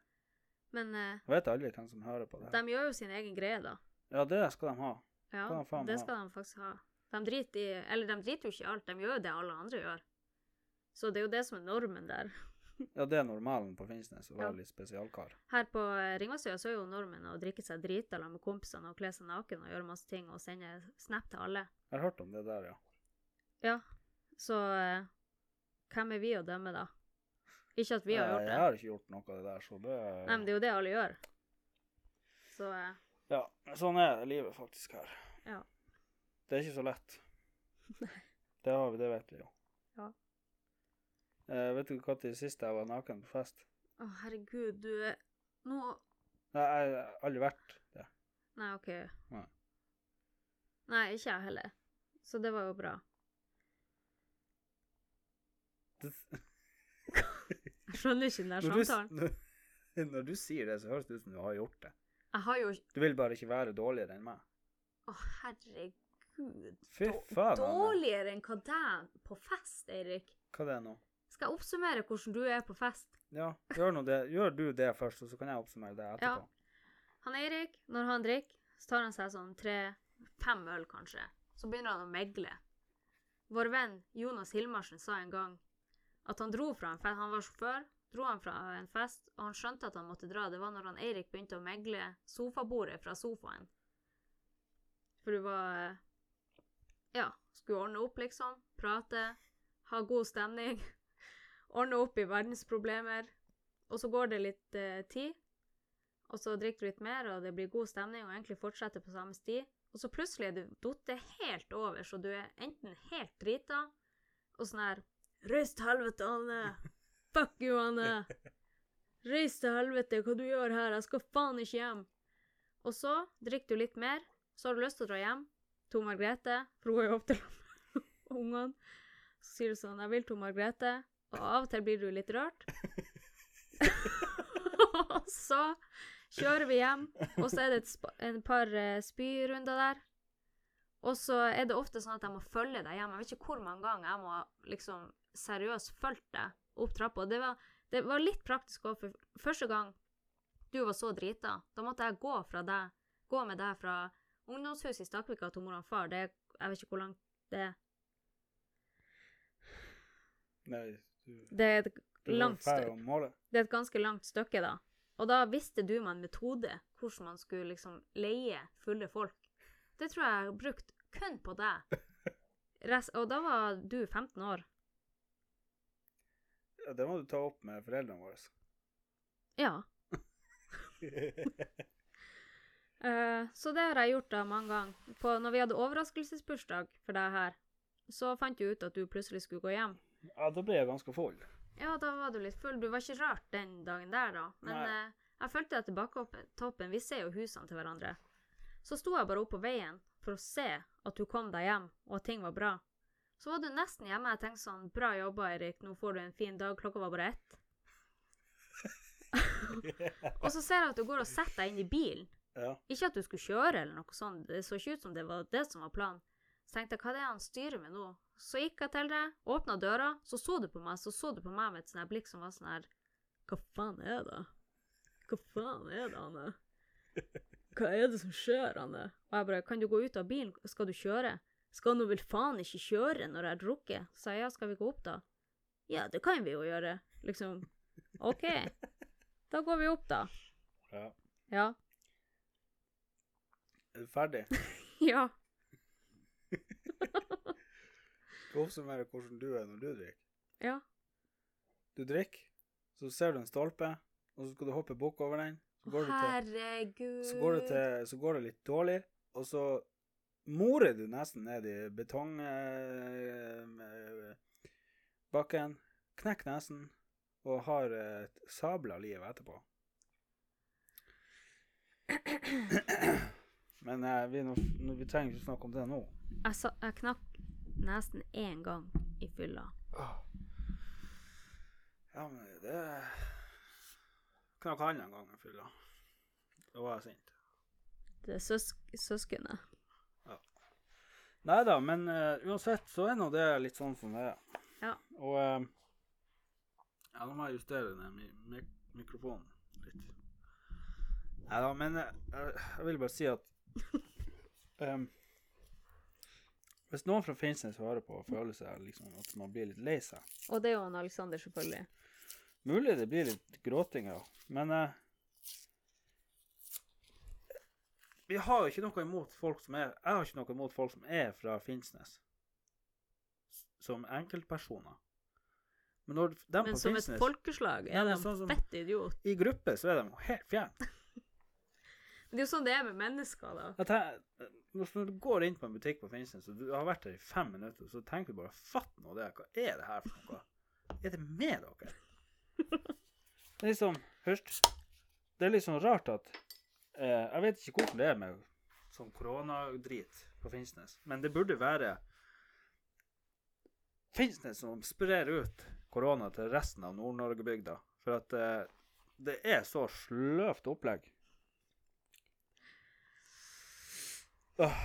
Men eh, Jeg vet aldri hvem som hører på det. her. de gjør jo sin egen greie, da. Ja, det skal de ha. Ja, Skal de faen det ha. skal de faktisk ha. De driter i Eller de driter jo ikke i alt, de gjør jo det alle andre gjør. Så det er jo det som er normen der. Ja, det er normalen på Finnsnes å Ja. være litt spesialkar. Her på eh, Ringvassøya så er jo normen å drikke seg drita sammen med kompisene og kle seg naken og gjøre masse ting og sende snap til alle. Jeg har hørt om det der, ja. Så eh, hvem er vi å dømme, da? Ikke at vi har Eh, gjort Jeg det. har ikke gjort noe av det der, så det Nei, men det er jo det alle gjør. Så eh, Ja, sånn er livet faktisk her. Ja. Det er ikke så lett. Det har vi, det vet vi jo. Ja. Eh, vet du når det siste jeg var naken på fest? Å, herregud, du er Nå Nei, jeg har aldri vært det. Nei, OK. Nei. Nei, ikke jeg heller. Så det var jo bra. det Jeg skjønner ikke den der når, samtalen. du, når, når du sier det, så høres det ut som du har gjort det. Jeg har jo Du vil bare ikke være dårligere enn meg. Å, herregud. Fy Då- faen. Anne. Dårligere enn hva deg på fest, Eirik. Hva det er nå? Skal jeg oppsummere hvordan du er på fest? Ja, gjør, nå det. gjør du det først, og så kan jeg oppsummere det etterpå. Han Eirik, når han drikker, så tar han seg sånn tre-fem øl, kanskje. Så begynner han å megle. Vår venn Jonas Hilmarsen sa en gang at han dro fra en fest Han var sjåfør, dro han fra en fest, og han skjønte at han måtte dra. Det var når han Eirik begynte å megle sofabordet fra sofaen. For du var eh, Ja, skulle ordne opp, liksom. Prate. Ha god stemning. Ordne opp i verdensproblemer. Og så går det litt eh, tid, og så drikker du litt mer, og det blir god stemning, og egentlig fortsetter på samme sti. Og så plutselig er du datt helt over, så du er enten helt drita og sånn her Reis til helvete, Anne! Fuck you, Anne! Reis til helvete, hva du gjør her? Jeg skal faen ikke hjem! Og så drikker du litt mer, så har du lyst til å dra hjem til Margrethe, for hun går jo opp til ungene. Så sier du sånn Jeg vil til Margrethe. Og av og til blir du litt rørt. og så kjører vi hjem, og så er det et, spa- en par eh, spyrunder der. Og så er det ofte sånn at jeg må følge deg hjem. Jeg vet ikke hvor mange ganger jeg må liksom seriøst følge deg opp trappa. Det var, det var litt praktisk òg, for første gang du var så drita, da måtte jeg gå fra deg, gå med deg fra ungdomshuset i Stakvika til mor og far. Det er, jeg vet ikke hvor langt det er. Nei, du, Det er et du langt var ferdig stykke. om målet. Det er et ganske langt stykke, da. Og da visste du meg en metode, hvordan man skulle liksom leie fulle folk. Det tror jeg jeg har brukt kun på deg. Rest, og da var du 15 år. Ja, det må du ta opp med foreldrene våre. Ja. Eh, så det har jeg gjort da mange ganger. På, når vi hadde overraskelsesbursdag for deg her, så fant du ut at du plutselig skulle gå hjem. Ja, da ble jeg ganske full. Ja, da var du litt full. Du var ikke rørt den dagen der, da. Men Nei. eh, jeg følte at tilbaketoppen Vi ser jo husene til hverandre. Så sto jeg bare opp på veien for å se at du kom deg hjem, og at ting var bra. Så var du nesten hjemme. Jeg tenkte sånn Bra jobba, Eirik. Nå får du en fin dag. Klokka var bare ett. og så ser jeg at du går og setter deg inn i bilen. Ja. Ikke at du skulle kjøre eller noe sånt, det så ikke ut som det var det som var planen. Så tenkte jeg, hva det er han styrer med nå? Så gikk jeg til deg, åpna døra, så så du på meg, så så du på meg med et sånt her blikk som var sånn her Hva faen er det? Hva faen er det, Anne? Hva er det som skjer, Anne? Og jeg bare, kan du gå ut av bilen, skal du kjøre? Skal nå vel faen ikke kjøre når jeg har drukket? Sa jeg, ja, skal vi gå opp da? Ja, det kan vi jo gjøre, liksom. OK, da går vi opp da. ja. Ja. Er du ferdig? Ja. Skal oppsummere hvordan du er når du drikker. Ja. Du drikker, så ser du en stolpe, og så skal du hoppe bukk over den. Så går, du til, Herregud. så, går det til, så går det litt dårlig, og så morer du nesten ned i betongbakken. Eh, bakken, knekker nesen og har et sabla liv etterpå. Men eh, vi, er nå- nå- vi trenger ikke snakke om det nå. Jeg, sa, Altså, jeg knakk nesen én gang i fylla. Ja, men det Knakk han en gang i fylla. Da var jeg sint. Det er søs søskenet. Nei da, men eh, uansett så er nå det litt sånn som det er. Ja. Og eh, Ja, nå må jeg justere den mi mik mikrofonen litt. Nei da, men eh, jeg, jeg vil bare si at em, Hvis noen fra Finnsnes hører på og føler seg liksom at man blir litt lei seg Og det er jo han Aleksander, selvfølgelig. Mulig det blir litt gråting, ja. Men eh, Vi har jo ikke noe imot folk som er Jeg har ikke noe imot folk som er fra Finnsnes. S- Som enkeltpersoner. Men når de Men på som et Finnsnes folkeslag Ja, er men de sånn som- fett idiot. I gruppe, så er de helt fjerne. Det er jo sånn det er med mennesker, da. Jeg ten- Når når du går inn på en butikk på Finnsnes, og du har vært der i fem minutter, så tenker du bare Fatt nå det, hva er det her for noe? Er det med dere? Det er liksom Først Det er litt sånn rart at eh, Jeg vet ikke hvordan det er med sånn koronadrit på Finnsnes, men det burde være Finnsnes som sprer ut korona til resten av Nord-Norge-bygda. For at eh, det er så sløvt opplegg. Åh.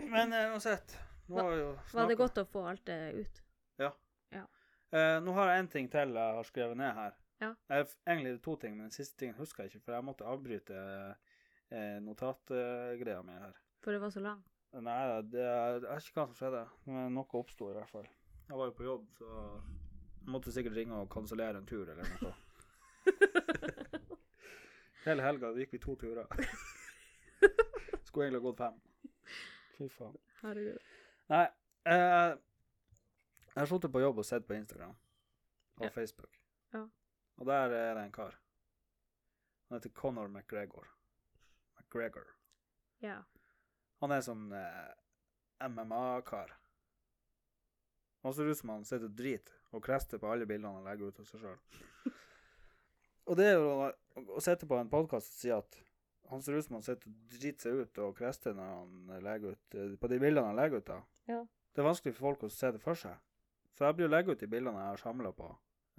Men eh, uansett Nå Hva- har jeg jo Var det snakket- godt å få alt det ut? Ja. Ja. Eh, nå har jeg en ting til jeg har skrevet ned her. Ja. Jeg, egentlig er det to ting, men den siste tingen husker jeg ikke, for jeg måtte avbryte eh, notatgreia mi her. For det var så langt. Nei, det, jeg vet ikke hva som skjedde, men noe oppsto i hvert fall. Jeg var jo på jobb, så Jeg måtte sikkert ringe og kansellere en tur eller noe. Hele helga gikk vi to turer. Skulle egentlig ha gått fem. Fy faen. Herregud. Nei. eh, jeg har sittet på jobb og sett på Instagram og Ja. Facebook. Ja. Og der er det en kar. Han heter Conor McGregor. McGregor. Ja. Han er sånn eh, MMA-kar. Han ser ut som han sitter og driter og krester på alle bildene han legger ut av seg sjøl. og det er jo å, å sitte på en podkast og si at han ser ut som han sitter og driter seg ut og krester når han legger ut, eh, på de bildene han legger ut av. Ja. Det er vanskelig for folk å se det for seg. Så jeg blir å legge ut de bildene jeg har samla på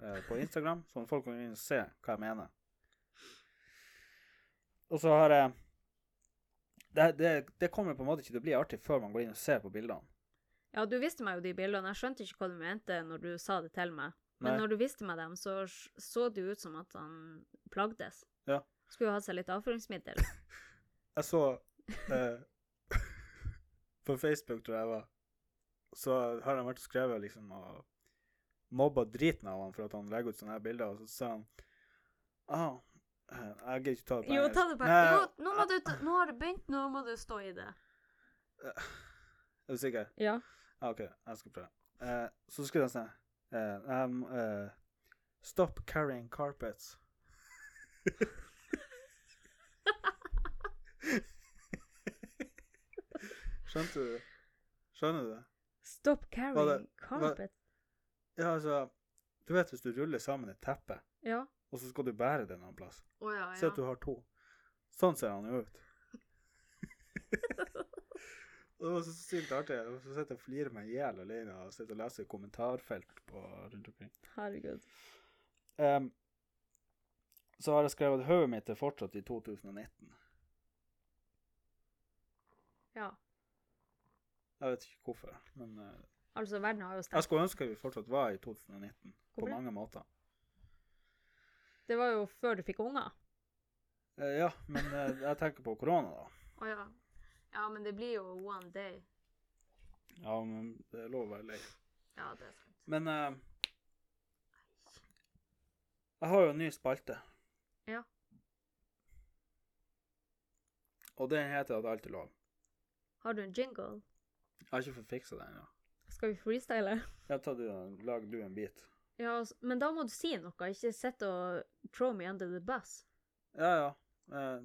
eh, på Instagram, sånn at folk kan gå inn og se hva jeg mener. Og så har jeg det, det, det kommer på en måte ikke til å bli artig før man går inn og ser på bildene. ja, du viste meg jo de bildene. Jeg skjønte ikke hva du mente når du sa det til meg. Men Nei. når du viste meg dem, så s- så det jo ut som at han plagdes. Ja. Skulle jo hatt seg litt avføringsmiddel. Jeg så eh, På Facebook, tror jeg det var, så har han vært og skrevet liksom og mobba driten av han for at han legger ut sånne her bilder, og så sa han ah, eh, Jeg gidder ikke ta det på Jo, engelsk. ta det på Nei, Jo, nå, må du, ta- nå har du begynt, nå må du stå i det. Er du sikker? Ja. Ja, Ah, OK, jeg skal prøve. Eh, så skulle han si eh, um, eh, Stop carrying carpets. Skjønte du det? Skjønner du det? Stop carrying var det- carpet. Ja, altså Du vet hvis du ruller sammen et teppe, Ja. og så skal du bære det en annen plass. Å ja, Si at du har to. Sånn ser han jo ut. det var så sykt artig. Jeg var så sitter og flirer meg i hjel alene og sitter og leser kommentarfelt på rundt omkring. Herregud. Ehm, så har jeg skrevet at hodet mitt er fortsatt i 2019. Ja. Jeg vet ikke hvorfor, men eh, Altså, verden har jo jeg stemt. skulle ønske vi fortsatt var i 2019 Hvorfor på det? mange måter. Det var jo før du fikk unger. Eh, ja, men eh, jeg tenker på korona, da. Å ja. Ja, men det blir jo one day. Ja, men det er lov å være lei. Ja, det er sant. Men eh, jeg har jo en ny spalte. Ja. Og den heter At alt er lov. Har du en jingle? Jeg har ikke fått fiksa den ennå. Skal vi freestyle? Ja, ta du den. Lag du en bit. Ja, s- men da må du si noe, ikke sitte og throw me under the bus. Ja, ja. Eh,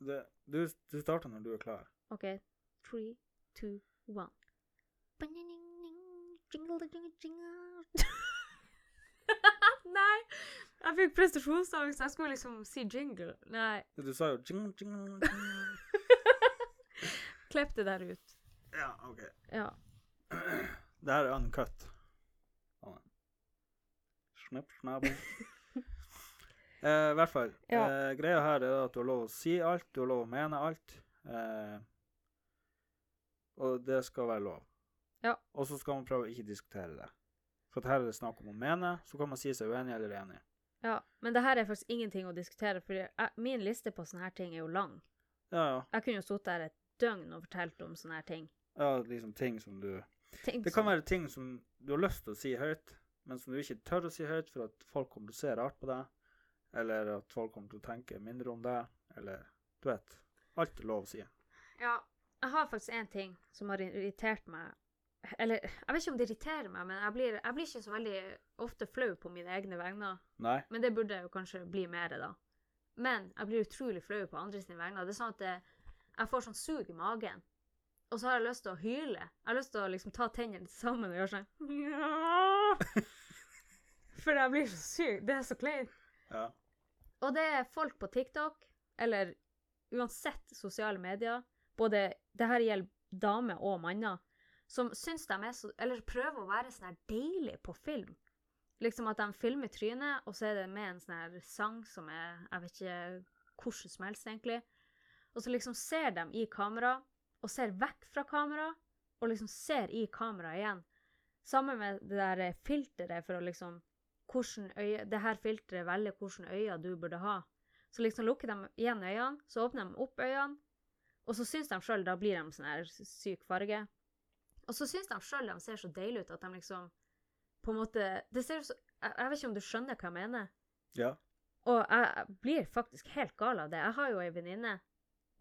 det, du, du starter når du er klar. OK. Three, two, one. Ba-ning-ning, Jingle, jingle, jingle. Nei! Jeg fikk prestasjonsangst. Jeg skulle liksom si jingle. Nei. Du sa jo jing, jing, jing. Klipp det der ut. Ja, OK. Ja. Det her er uncut. Ja. Snipp, snapp. eh, I hvert fall. Ja. Eh, greia her er at du har lov å si alt, du har lov å mene alt. Eh, og det skal være lov. Ja. Og så skal man prøve å ikke diskutere det. For at her er det snakk om å mene, så kan man si seg uenig eller enig. ja. Men det her er faktisk ingenting å diskutere, for jeg, min liste på sånne her ting er jo lang. Ja, ja. Jeg kunne jo sittet her et døgn og fortalt om sånne her ting. Ja, liksom ting som du ting Det kan være ting som du har lyst til å si høyt, men som du ikke tør å si høyt for at folk kommer til å se rart på deg, eller at folk kommer til å tenke mindre om deg, eller du vet. Alt er lov å si. Ja, jeg har faktisk én ting som har irritert meg. Eller, jeg vet ikke om det irriterer meg, men jeg blir, jeg blir ikke så veldig ofte flau på mine egne vegner. Nei. Men det burde jeg jo kanskje bli mer, da. Men jeg blir utrolig flau på andre sine vegner. Det er sånn at det, jeg får sånn sug i magen. Og så har jeg lyst til å hyle. Jeg har lyst til å liksom ta tennene sammen og gjøre sånn For jeg blir så syk. Det er så kleint. Ja. Og det er folk på TikTok, eller uansett sosiale medier, både det her gjelder damer og manner, som syns de er så Eller prøver å være sånn her deilig på film. Liksom at de filmer trynet, og så er det med en sånn her sang som er Jeg vet ikke hvordan som helst, egentlig. Og så liksom ser de i kamera, og ser vekk fra kamera, og liksom ser i kamera igjen. Sammen med det der eh, filteret for å liksom hvordan øye, Det her filteret velger hvilke øyne du burde ha. Så liksom lukker de igjen øynene, så åpner de opp øynene, og så syns de sjøl Da blir de sånn her syk farge. Og så syns de sjøl de ser så deilige ut at de liksom På en måte Det ser ut som jeg, jeg vet ikke om du skjønner hva jeg mener? Ja. Og jeg jeg blir faktisk helt gal av det. Jeg har jo ei venninne.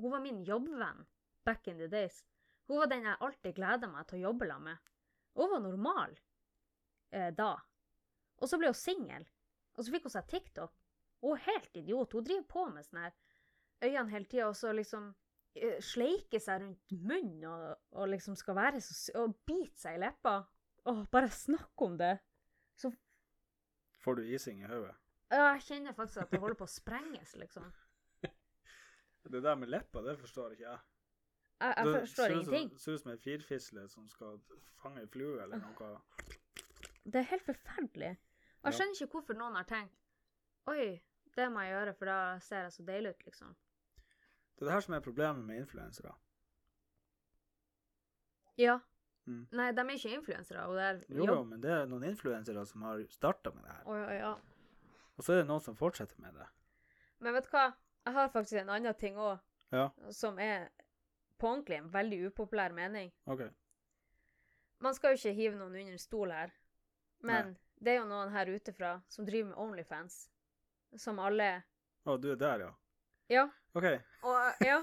Hun var min jobbvenn back in the days. Hun var den jeg alltid gleda meg til å jobbe sammen med. Og Hun var normal eh, da. Og så ble hun singel. Og så fikk hun seg TikTok. Hun er helt idiot. Hun driver på med sånn her øynene hele tida, og så liksom eh, sleiker seg rundt munnen og, og liksom skal være så sy- Og biter seg i leppa. Åh, bare snakk om det. Får du ising i hodet? Ja, Jeg kjenner faktisk at det holder på å sprenges, liksom. Det der med leppa, det forstår ikke jeg. Jeg, jeg Det forstår ser ut som- ingenting. Ser ut som en firfisle som skal fange en flue eller noe. Det er helt forferdelig. Og Ja. jeg skjønner ikke hvorfor noen har tenkt Oi, det må jeg gjøre, for da ser jeg så deilig ut, liksom. Det er det her som er problemet med influensere. Ja. Mm. Nei, de er ikke influensere. Og det er Jo, jo, jobb. men det er noen influensere som har starta med det her. Oi, oi, ja. Og så er det noen som fortsetter med det. Men vet du hva? Jeg har faktisk en annen ting òg, Ja, som er på ordentlig en veldig upopulær mening. OK. Man skal jo ikke hive noen under en stol her, men det er jo noen her utefra som driver med Onlyfans, som alle Å, du er der, ja. Ja. OK. Og, ja.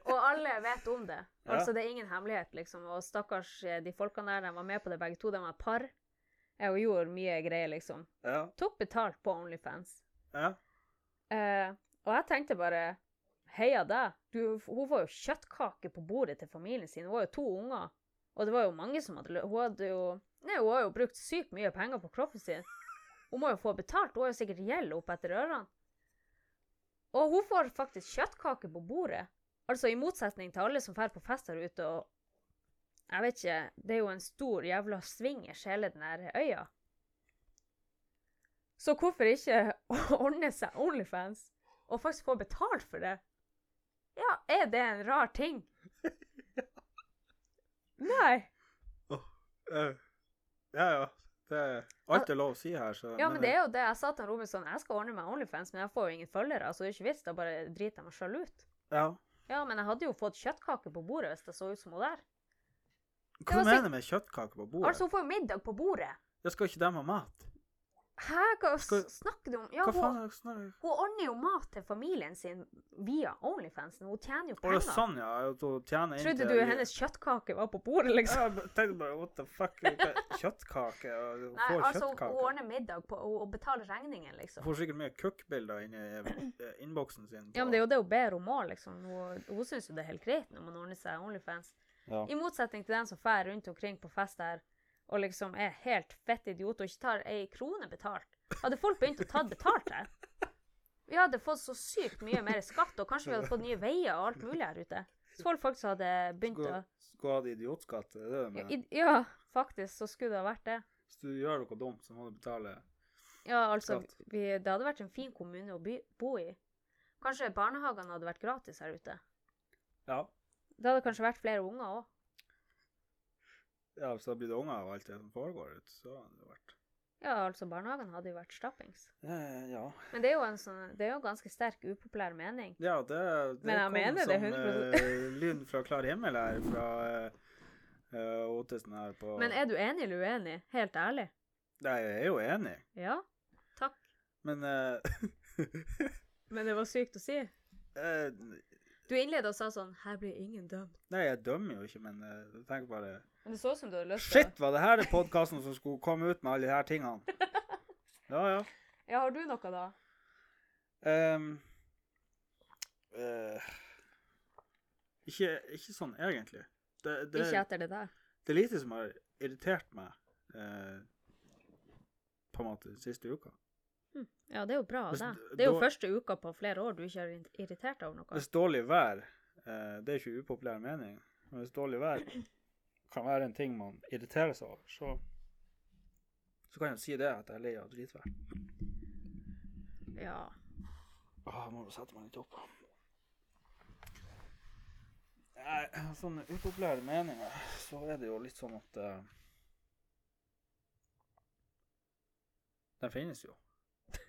og alle vet om det. Ja. Altså, Det er ingen hemmelighet, liksom. Og stakkars eh, de folkene der, de var med på det begge to. De var et par. Jeg og gjorde mye greier, liksom. Ja. Tok betalt på Onlyfans. ja. Eh, og jeg tenkte bare Heia deg. Du, hun får jo kjøttkake på bordet til familien sin. Hun har jo to unger. Og det var jo mange som hadde lø- Hun hadde jo Nei, hun har jo brukt sykt mye penger på kroppen sin. Hun må jo få betalt. Hun har jo sikkert gjeld opp etter ørene. Og hun får faktisk kjøttkake på bordet. Altså i motsetning til alle som drar på fest her ute og Jeg vet ikke. Det er jo en stor jævla swingers, hele den her øya. Så hvorfor ikke ordne seg Onlyfans og faktisk få betalt for det? Ja, er det en rar ting? Nei. Eh, ja, ja. Det er alt er lov å si her, så Ja, men det er jo det. Jeg sa til Robin sånn, jeg skal ordne meg Onlyfans, men jeg får jo ingen følgere, så det er ikke vits, da bare driter jeg meg sjøl ut. Ja. Ja, men jeg hadde jo fått kjøttkake på bordet hvis det så ut som hun der. Hva var mener du med kjøttkake på bordet? Altså, hun får jo middag på bordet. ja, skal ikke de ha mat? Hæ, hva s- Skal- snakker du om? Ja, Hva faen hun, er det snarere? hun ordner jo mat til familien sin via Onlyfansen. Hun tjener jo Å, det er penger. sånn, ja. At hun tjener inn Trodde til- du hennes kjøttkake var på bordet, liksom? Ja, Jeg tenkte bare what the fuck? hva- Kjøttkake? Og hun Nei, får altså, hun- kjøttkake. hun ordner middag på, og, og betaler regningen, liksom. Hun får sikkert mye kukkbilder inni eh, innboksen sin. Ja, men det er jo det hun ber om òg, liksom. Hun, hun syns jo det er helt greit når man ordner seg Onlyfans. Ja. I motsetning til den som drar rundt omkring på fest her og liksom er helt fett idiot og ikke tar ei krone betalt. Hadde folk begynt å ta betalt her Vi hadde fått så sykt mye mer skatt, og kanskje vi hadde fått nye veier og alt mulig her ute. Så folk faktisk hadde begynt å Skulle, skulle ha det idiotskatt, det er det du ja, mener? i- ja, faktisk så skulle det ha vært det. Hvis du gjør noe dumt, så må du betale Ja, altså, Skatt. vi, det hadde vært en fin kommune å by, bo i. Kanskje barnehagene hadde vært gratis her ute. Ja. Det hadde kanskje vært flere unger òg. ja så blir det unger og alt det som foregår ut, så har det vært Ja, altså, barnehagene hadde jo vært stappings. Eh, Ja. Men det er jo en sånn, det er jo en ganske sterk upopulær mening. Ja, det, det Men jeg kom mener som det 100%. eh, lyn fra klar himmel her fra eh, eh, Ottesen her på Men er du enig eller uenig? Helt ærlig? Nei, jeg er jo enig, Ja. Takk. men eh, Men det var sykt å si. eh, Du innleda og sa sånn 'Her blir ingen dømt'. Nei, jeg dømmer jo ikke, men eh, jeg tenker bare Men det så ut som du hadde lyst til Shit, var det her podkasten som skulle komme ut med alle de her tingene? Ja, ja. Ja, har du noe, da? Ehm, eh, ikke, ikke sånn egentlig. Det, det, Ikke etter det der. det er lite som har irritert meg eh, på en måte siste uka. Ja, det er jo bra, Hvis det. d- Det er jo da- første uka på flere år du ikke har irrit- irritert deg over noe. Hvis dårlig vær eh, Det er ikke upopulær mening, men hvis dårlig vær kan være en ting man irriterer seg over, så så kan jeg jo si det, at jeg er lei av dritvær. Ja. Åh, jeg må jo sette meg litt opp. Nei, sånne upopulære meninger, så er det jo litt sånn at sånn eh, De finnes jo.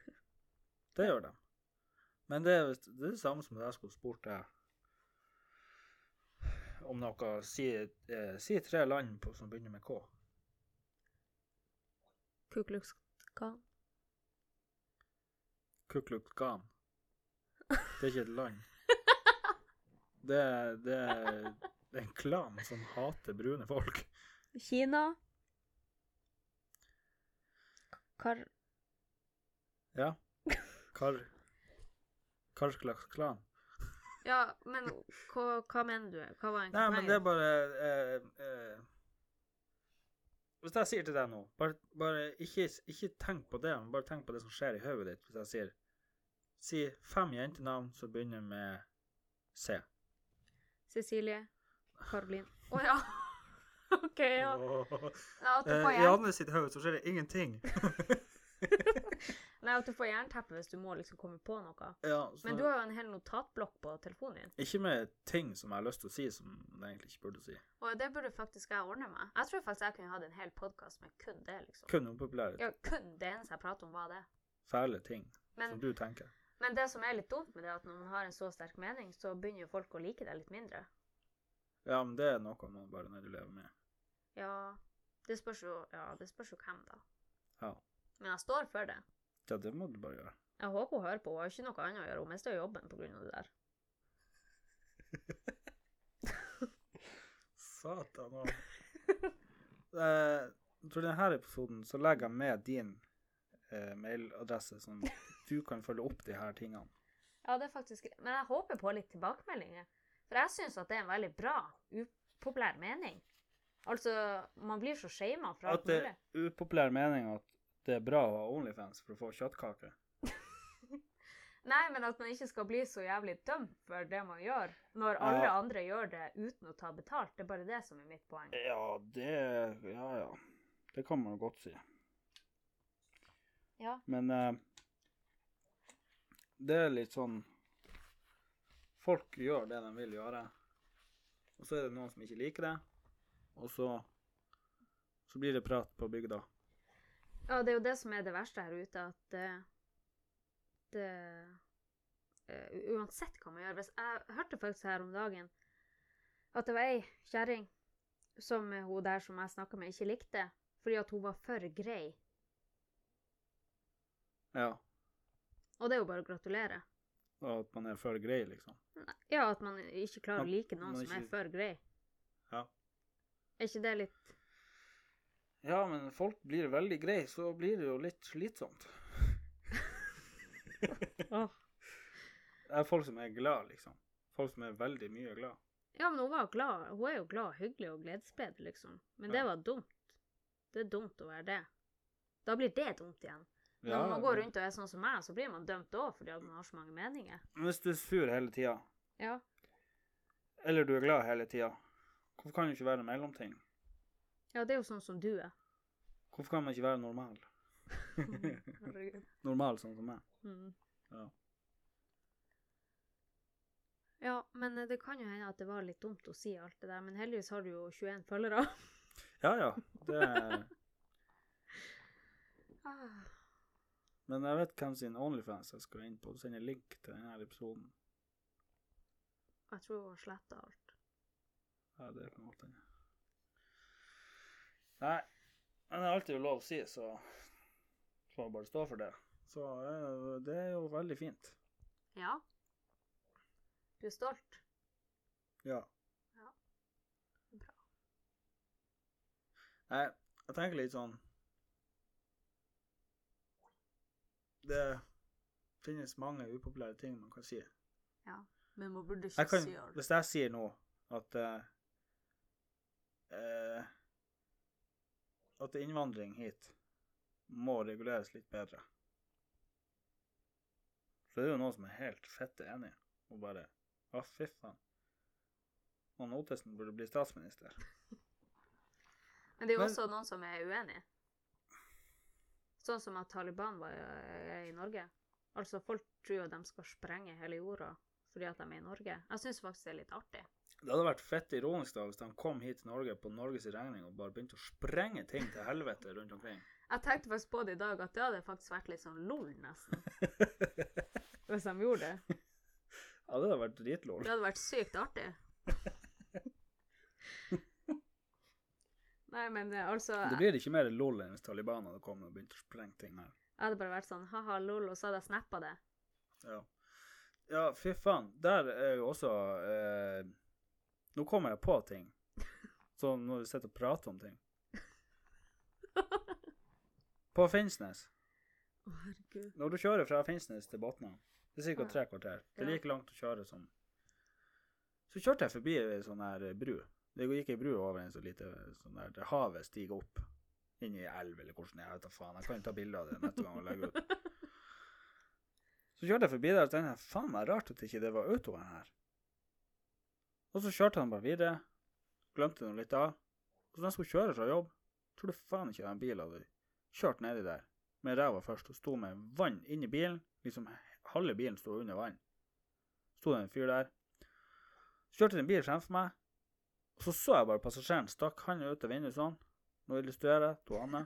Det gjør de. Men det er, visst- det er det samme som at jeg skulle spurt deg om noe Si, eh, si tre land på, som begynner med K. Kuklukskall. Kuklukkan. Det er ikke et land. Det er, det er det er en klan som hater brune folk. Kina. Kar... Ja. Kar... Karklaksklan. Ja, men hva, hva mener du? Hva var Nei, men det er bare eh, eh, Hvis jeg sier til deg nå Bare, bare ikke, ikke tenk på det, men bare tenk på det som skjer i hodet ditt hvis jeg sier Si fem jentenavn som begynner med C. Cecilie. Karolin. Å ja. OK, ja. Nei, at du Eh, får I jern- Anne sitt hode så skjer det ingenting. Nei, at du får jernteppe hvis du må liksom komme på noe. ja, så, Men du har jo en hel notatblokk på telefonen din. Ikke med ting som jeg har lyst til å si, som jeg egentlig ikke burde si. Og det burde faktisk jeg ordne meg. Jeg tror faktisk jeg kunne hatt en hel podkast med kun det, liksom. Kun upopulære, Ja, kun det eneste jeg prater om, var det. fæle ting Men, som du tenker. men det som er litt dumt med det, er at når man har en så sterk mening, så begynner jo folk å like deg litt mindre. Ja, men det er noe man bare er nødt til å leve med. Ja, det spørs jo, ja, det spørs jo hvem, da. Ja. Men jeg står for det. ja, det må du bare gjøre. Jeg håper hun hører på. Hun har ikke noe annet å gjøre. Hun mister jo jobben pga. det der. Satan òg. Tror du denne episoden så legger jeg med din eh, mailadresse, sånn at du kan følge opp de her tingene. Ja, det er faktisk greit. Men jeg håper på litt tilbakemeldinger. For jeg syns at det er en veldig bra, upopulær mening. Altså, man blir så shama fra At alt det mulig. er upopulær mening at det er bra å ha Onlyfans for å få kjøttkaker. Nei, men at man ikke skal bli så jævlig dømt for det man gjør, når alle Ja. andre gjør det uten å ta betalt. Det er bare det som er mitt poeng. Ja, det Ja, ja. Det kan man jo godt si. Ja. Men eh, det er litt sånn Folk gjør det de vil gjøre, og så er det noen som ikke liker det, og så så blir det prat på bygda. Ja, det er jo det som er det verste her ute, at eh, det eh, u- Uansett hva man gjør hvis, Jeg hørte faktisk her om dagen at det var ei kjerring som eh, hun der som jeg snakka med, ikke likte, fordi at hun var for grei. Ja, Og det er jo bare å gratulere. og at man er for grei, liksom. Nei, Ja, at man ikke klarer å Man- like noen man som er ikke- for grei. Ja. Er ikke det litt Ja, men folk blir veldig greie, så blir det jo litt slitsomt. Åh. Det er folk som er glad, liksom. Folk som er veldig mye glad. Ja, men hun var glad. Hun er jo glad og hyggelig og gledesspreder, liksom. Men det Ja. var dumt. Det er dumt å være det. Da blir det dumt igjen. Når Ja, man går rundt og er sånn som meg, så blir man dømt òg fordi at man har så mange meninger. men Hvis du er sur hele tida, Ja. eller du er glad hele tida, hvorfor kan du ikke være mellomting? ja, det er jo sånn som du er. Hvorfor kan man ikke være normal? Mm. Herregud. Normal sånn som meg. Mm. Ja. ja, men eh, det kan jo hende at det var litt dumt å si alt det der, men heldigvis har du jo 21 følgere. Ja ja, det er Ah. Men jeg vet hvem sin Onlyfans jeg skal inn på. Send en link til denne episoden. Jeg tror hun sletta alt. Ja, det kan godt hende. Nei, men det er alltid lov å si, så får man bare stå for det. Så eh, det er jo veldig fint. Ja. Du er stolt? Ja. Ja. Bra. Nei, jeg tenker litt sånn Det finnes mange upopulære ting man kan si. Men man burde Jeg kan, hvis jeg sier nå at eh, eh, At innvandring hit må reguleres litt bedre. Så det er jo noen som er helt fette enig og bare Å, fy faen. Han Ottesen burde bli statsminister. Men det er jo Men- også noen som er uenige. Sånn som at Taliban var er i Norge. Altså, folk tror jo de skal sprenge hele jorda fordi at de er i Norge. Jeg syns faktisk det er litt artig. Det hadde vært fett ironisk da hvis de kom hit til Norge på Norges regning og bare begynte å sprenge ting til helvete rundt omkring. Jeg tenkte faktisk på det i dag, at det hadde faktisk vært litt sånn lol, nesten. Hvis de gjorde det. Ja, det hadde vært dritlol. Det hadde vært sykt artig. Nei, men eh, altså Det blir ikke mer lol enn hvis Taliban hadde kommet og begynt å sprenge ting her. Jeg hadde bare vært sånn ha-ha, lol, og så hadde jeg snappa det. Ja, ja fy faen. Der er jo også eh, Nå kommer jeg på ting. Sånn når vi sitter og prater om ting. På Finnsnes. Å, herregud. Når du kjører fra Finnsnes til Botna, det er ca. Ja. tre kvarter. Det er Ja. like langt å kjøre som Så kjørte jeg forbi ei sånn her eh, bru. Det gikk ei bru over en så lite sånn der der havet stiger opp inn i ei elv, eller hvordan jeg vet da faen. Jeg kan ta bilde av det neste gang og legge ut. Så kjørte jeg forbi der og tenkte jeg, faen meg rart at ikke det var autoen her. Og så kjørte han bare videre. Glemte noe litt av. Og så når jeg skulle kjøre fra jobb, tror du faen ikke den bilen hadde kjørt nedi der med ræva først og sto med vann inni bilen. Liksom halve bilen sto under vann. Sto det en fyr der. Så kjørte det en bil fremfor meg. Og så så jeg bare passasjeren stakk handa ut av vinduet sånn. Nå illustrerer jeg. To andre.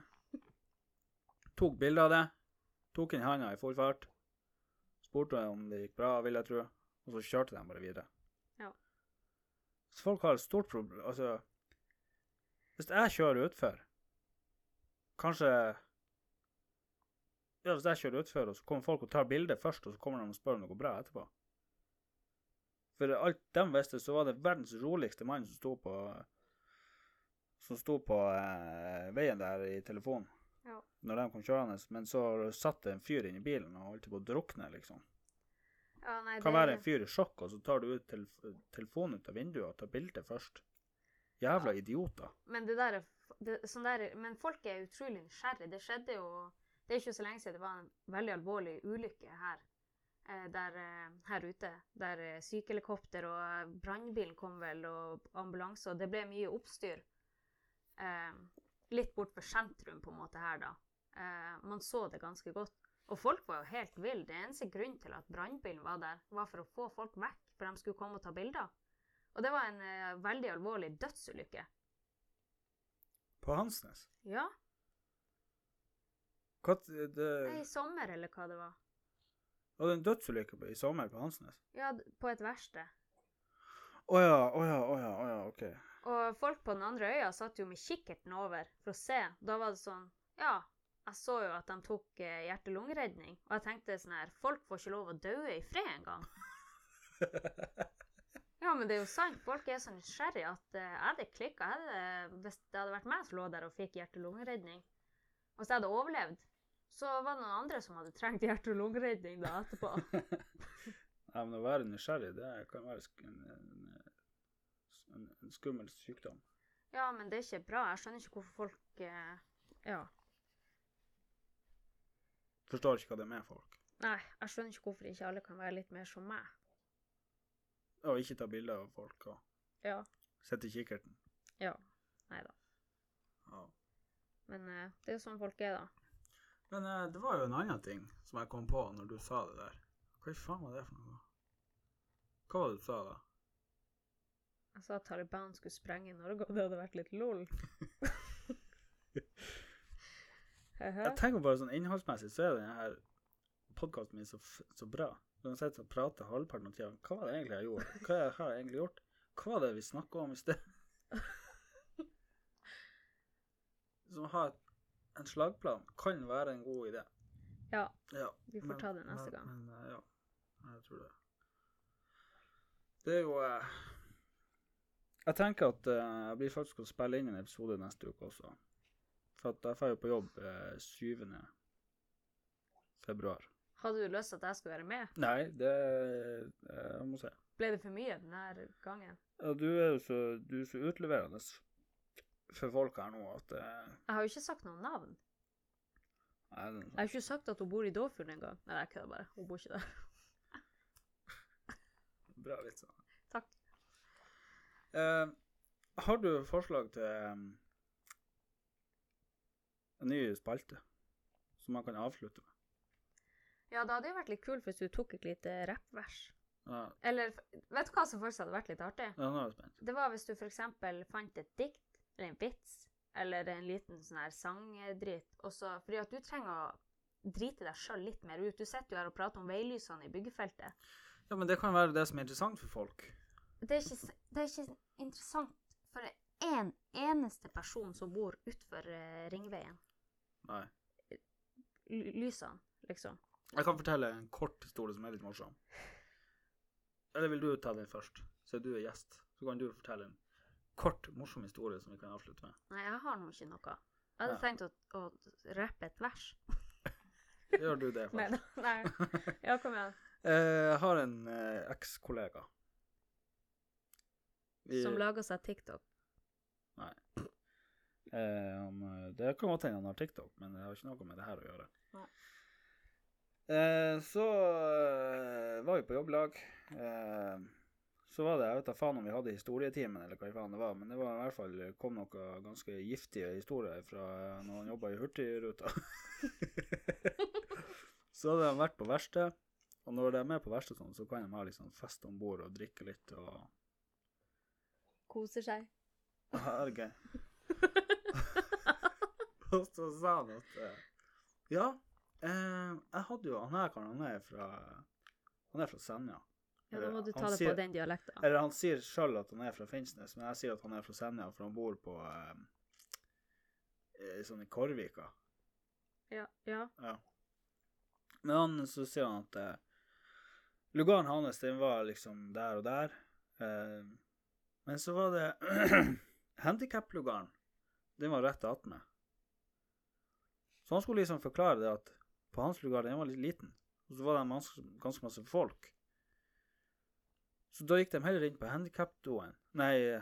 Tok bilde av det. Tok inn handa i full fart. Spurte om det gikk bra, vil jeg tro. Og så kjørte de bare videre. Ja. Så folk har et stort problem Altså, hvis jeg kjører utfor, kanskje ja, hvis jeg kjører utfor, og så kommer folk og tar bilde først, og så kommer de og spør om det går bra etterpå. For alt de visste, så var det verdens roligste mann som sto på som sto på eh, veien der i telefonen Ja. når de kom kjørende. Men så satt det en fyr inni bilen og holdt på å drukne, liksom. Ja, nei, Kan det- være en fyr i sjokk, og så tar du ut telef telefonen ut av vinduet og tar bilde først. Jævla idioter. Men det der, er f- det, sånn der er- Men folk er utrolig nysgjerrige. Det skjedde jo Det er ikke så lenge siden det var en veldig alvorlig ulykke her. eh, Der, eh, her ute. Der eh, sykehelikopter og eh, brannbilen kom vel, og ambulanse, og det ble mye oppstyr. Eh, litt bort ved sentrum, på en måte, her, da. Eh, man så det ganske godt. Og folk var jo helt ville. Det eneste grunnen til at brannbilen var der, var for å få folk vekk, for de skulle komme og ta bilder. Og det var en eh, veldig alvorlig dødsulykke. På Hansnes. Ja. Hva, det, Nei, i sommer, eller hva det var. det var en dødsulykke på- i sommer på Hansnes. Ja, d- på et verksted. Å ja, å ja, å ja, å ja, OK. Og folk på den andre øya satt jo med kikkerten over for å se. Da var det sånn Ja, jeg så jo at de tok eh, hjerte-lungeredning, og jeg tenkte sånn her Folk får ikke lov å dø i fred engang. Ja, men det er jo sant. Folk er så nysgjerrige at eh, jeg hadde klikka hvis det hadde vært meg som lå der og fikk hjerte-lungeredning. Og hvis jeg hadde overlevd, så var det noen andre som hadde trengt hjerte-lungeredning da etterpå. Nei, men å være nysgjerrig, det kan være sk en, en, en, en skummel sykdom. Ja, men det er ikke bra. Jeg skjønner ikke hvorfor folk eh, Ja. Forstår ikke hva det er med folk. Nei, jeg skjønner ikke hvorfor ikke alle kan være litt mer som meg. Og ikke ta bilder av folk og Ja. sitte i kikkerten. Ja. Nei da. Ja. Men eh, det er jo sånn folk er, da. Men eh, det var jo en annen ting som jeg kom på når du sa det der. Hva i faen var det for noe? Hva var det du sa da? Jeg sa at Taliban skulle sprenge Norge, og det hadde vært litt lol. Høhø. Jeg tenker bare sånn innholdsmessig, så er denne her podkasten min så, f- så bra. Den sitter og prater halvparten av tida. Hva var det egentlig jeg gjorde? Hva jeg har jeg egentlig gjort? Hva var det vi snakka om i sted? Som å ha et, en slagplan kan være en god idé. ja. Ja, Vi får ta det neste men, gang. Men, eh, ja, jeg tror det. Det er jo eh, Jeg tenker at eh, jeg blir faktisk å spille inn en episode neste uke også. For at jeg får jo på jobb eh, 7. februar. Hadde du lyst til at jeg skulle være med? Nei, det eh, Jeg må se. Ble det for mye denne gangen? Ja, du er jo så, du er så utleverende for folk her nå at eh, Jeg har jo ikke sagt noe navn. Nei, det er Jeg har ikke sagt at hun bor i Dåfjorden engang. Nei, jeg kødder bare. Hun bor ikke der. en bra vits. da. Takk. Eh, har du forslag til em, en ny spalte som man kan avslutte med? Ja, det hadde jo vært litt kult hvis du tok et lite rappvers. Ja, Eller vet du hva som faktisk hadde vært litt artig? ja, nå er jeg spent. Det var hvis du f.eks. fant et dikt eller en vits eller en liten sånn her sangdrit. Og så- Fordi at du trenger å drite deg sjøl litt mer ut. Du sitter jo her og prater om veilysene i byggefeltet. Ja, men det kan være det som er interessant for folk. Det er ikke, s- det er ikke interessant for én en eneste person som bor utfor eh, ringveien. Nei. L lysene, liksom. Jeg kan fortelle en kort historie som er litt morsom. Eller vil du ta den først, så du er gjest? Så kan du fortelle en kort, morsom historie som vi kan avslutte med. Nei, jeg har nå ikke noe. Jeg hadde Ja. tenkt å, å rappe et vers. Gjør du det? Nei Faktisk? da. Nei. Ja, kom igjen. Eh, Jeg har en eh, ekskollega. Vi- Som lager seg TikTok. Eh, han, eh, det kan godt hende han har TikTok, men det har ikke noe med det her å gjøre. Nei. Eh, så eh, var vi på jobblag. Eh, så var det, jeg vet da faen om vi hadde historietimen eller hva i faen det var, men det var i hvert fall kom noen ganske giftige historier fra eh, når han jobba i Hurtigruta. så hadde de vært på verksted, og når de er med på verksted sånn, så kan de ha liksom fest om bord og drikke litt og Koser seg. Ja, det er gøy. Og så sa han at eh, Ja, eh, jeg hadde jo Han her karen, han er fra Han er fra Senja. Ja, da må du ta Han det sier- på den dialekta. Eller han sier sjøl at han er fra Finnsnes, men jeg sier at han er fra Senja, for han bor på eh, eh, Sånn i Korvika. Ja, ja. Ja. Men han, så sier han at eh, lugaren hans den var liksom der og der. Eh, men så var det handikap-lugaren. Den var rett attmed. Så han skulle liksom forklare det at på hans lugar den var litt liten, og så var det ganske, ganske masse folk. Så da gikk de heller inn på handikap-doen. Nei,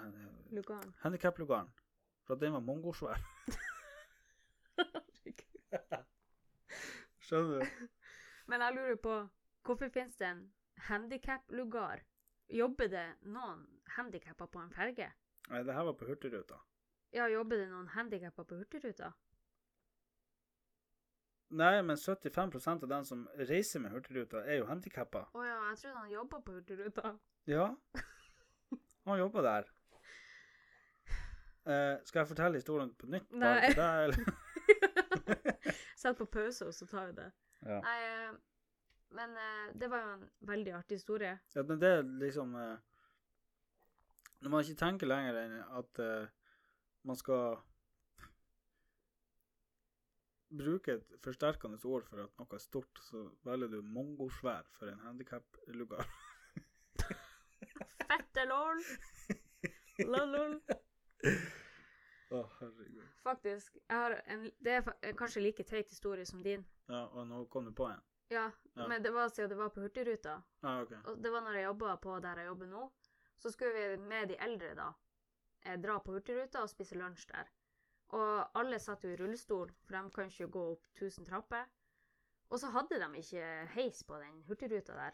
Lugan. handikap-lugaren. For at den var mongosvær. Skjønner du? Men jeg lurer på, hvorfor finnes det en handicap-lugar? Jobber det noen handicapper på en ferge? Nei, det her var på Hurtigruta. Ja, jobber det noen handicapper på Hurtigruta? Nei, men 75 av dem som reiser med Hurtigruta, er jo handikappa. Å ja, jeg trodde han jobba på Hurtigruta. Ja. Han jobber der. Eh, skal jeg fortelle historien på nytt? bare Nei. til deg, eller? Sett på pause, og så tar vi det. Ja. Nei, eh, men eh, det var jo en veldig artig historie. ja, men det er liksom eh, Når man ikke tenker lenger enn at eh, man skal bruke et forsterkende ord for at noe er stort, så velger du mongosvær for en handikaplugar. Fette lol! Lol-lol. Å, herregud. Faktisk, jeg har en, det er fa- eh, kanskje like teit historie som din. Ja, og nå kom du på en? Ja, Ja. men det var siden det var på Hurtigruta. Ja, Ah, OK. Og det var når jeg jobba på der jeg jobber nå. Så skulle vi med de eldre, da, eh, dra på Hurtigruta og spise lunsj der. Og alle satt jo i rullestol, for de kan ikke gå opp 1000 trapper. Og så hadde de ikke heis på den Hurtigruta der.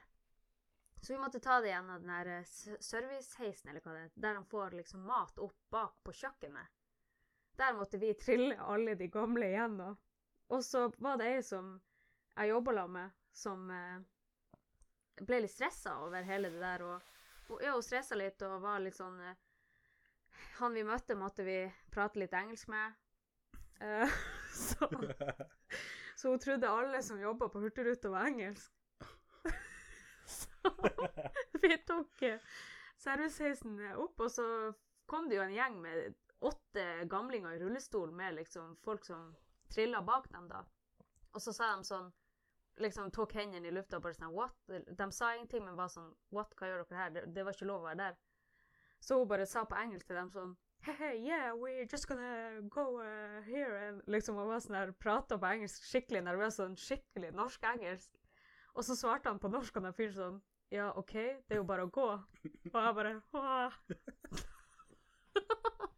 Så vi måtte ta det gjennom den der eh, s- serviceheisen, eller hva det er, der de får liksom mat opp bak på kjøkkenet. Der måtte vi trille alle de gamle igjennom. Og så var det ei som jeg jobba sammen med, som eh, ble litt stressa over hele det der. Og, og ja, hun stressa litt og var litt sånn eh, Han vi møtte, måtte vi prate litt engelsk med. Eh, så, så hun trodde alle som jobba på Hurtigruta, var engelsk. så vi tok eh, serviceheisen opp, og så kom det jo en gjeng med åtte gamlinger i rullestol med liksom folk som trilla bak dem, da. Og så sa de sånn liksom tok hendene i lufta og bare sånn What? De sa ingenting, men var sånn What, hva gjør dere her? Det, det var ikke lov å være der. Så hun bare sa på engelsk til dem sånn Hey, hey, yeah, we're just gonna go uh, here and Liksom hun var sånn her, prata på engelsk skikkelig nervøs, sånn skikkelig norsk-engelsk. Og så svarte han på norsk, han der fyren sånn Ja, OK, det er jo bare å gå. Og jeg bare «Åh».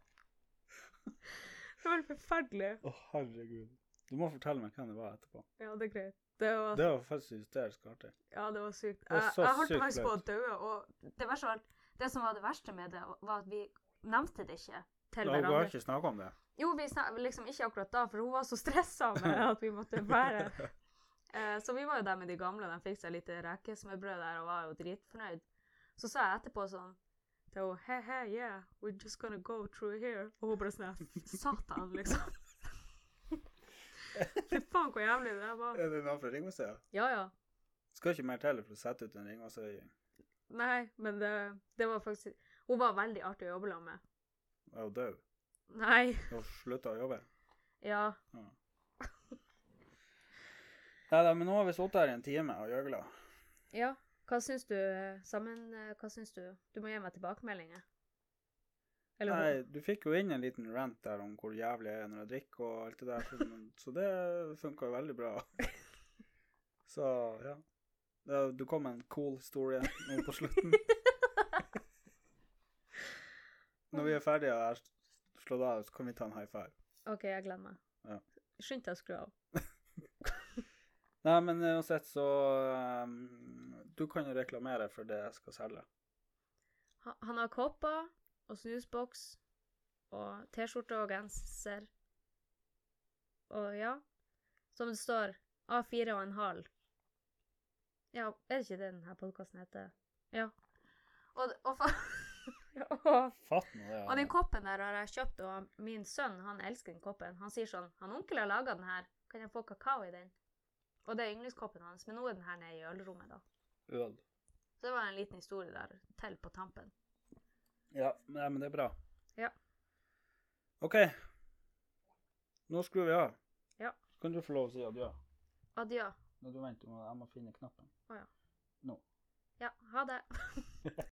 Det var forferdelig. Å, herregud. Du må fortelle meg hvem det var etterpå. Ja, det er greit. Det var Det var faktisk hysterisk artig. Ja, det var sykt. var Jeg, så jeg holdt sykt faktisk på å flaut. dø. Og det, verste var, at- det som var det verste med det, var at vi nevnte det ikke til Da har hverandre. ikke snakka om det. Jo, vi snak, liksom ikke akkurat da, for hun var så stressa med at vi måtte bære. Eh, så vi var jo der med de gamle, de fikk seg litt rekesmørbrød der og var jo dritfornøyd. Så sa jeg etterpå sånn til hun He he yeah, we're just gonna go through here. Og hun bare sånn her, Satan, liksom. Fy faen, hvor jævlig det der var. Er det noen fra Ringvassøya? Ja ja. Skal ikke mer til for å sette ut en Ringvassøying. Nei, men det, det var faktisk Hun var veldig artig å jobbe sammen med. Hun er jo død. Nei. Hun slutta å jobbe. Ja. Nei da, men nå har vi sittet her i en time og gjøgla. Ja. Hva syns du eh, sammen eh, Hva syns du? Du må gi meg tilbakemeldinger. Eller Nei, du fikk jo inn en liten rant der om hvor jævlig jeg er når jeg drikker og alt det der, så- men- så det funka jo veldig bra. Så ja. Da- Du kom med en cool historie nå på slutten. Når vi er ferdige og jeg slår deg av, så kan vi ta en high five. OK, jeg gleder meg. Ja. Skynd deg å skru av. Nei, men eh, uansett så um, Du kan jo reklamere for det jeg skal selge. Ha- Han har kopper og snusboks og T-skjorte og genser. Og ja, som det står, A4 og en halv. Ja, er det ikke det denne podkasten heter? Ja. Og, og, fa- og Fatt nå det. Og den koppen der har jeg kjøpt, og min sønn han elsker den koppen. Han sier sånn Han onkel har laga den her, kan jeg få kakao i den? Og det er yndlingskoppen hans, men nå er den her nede i ølrommet, da. Øl. Så det var en liten historie der til på tampen. Ja, nei, men det er bra. Ja. OK. Nå skrur vi av. Ja. Kan du få lov å si adjø? Adjø. Nei, du venter, jeg må finne knappen. Å ja. Nå. Ja, ha det.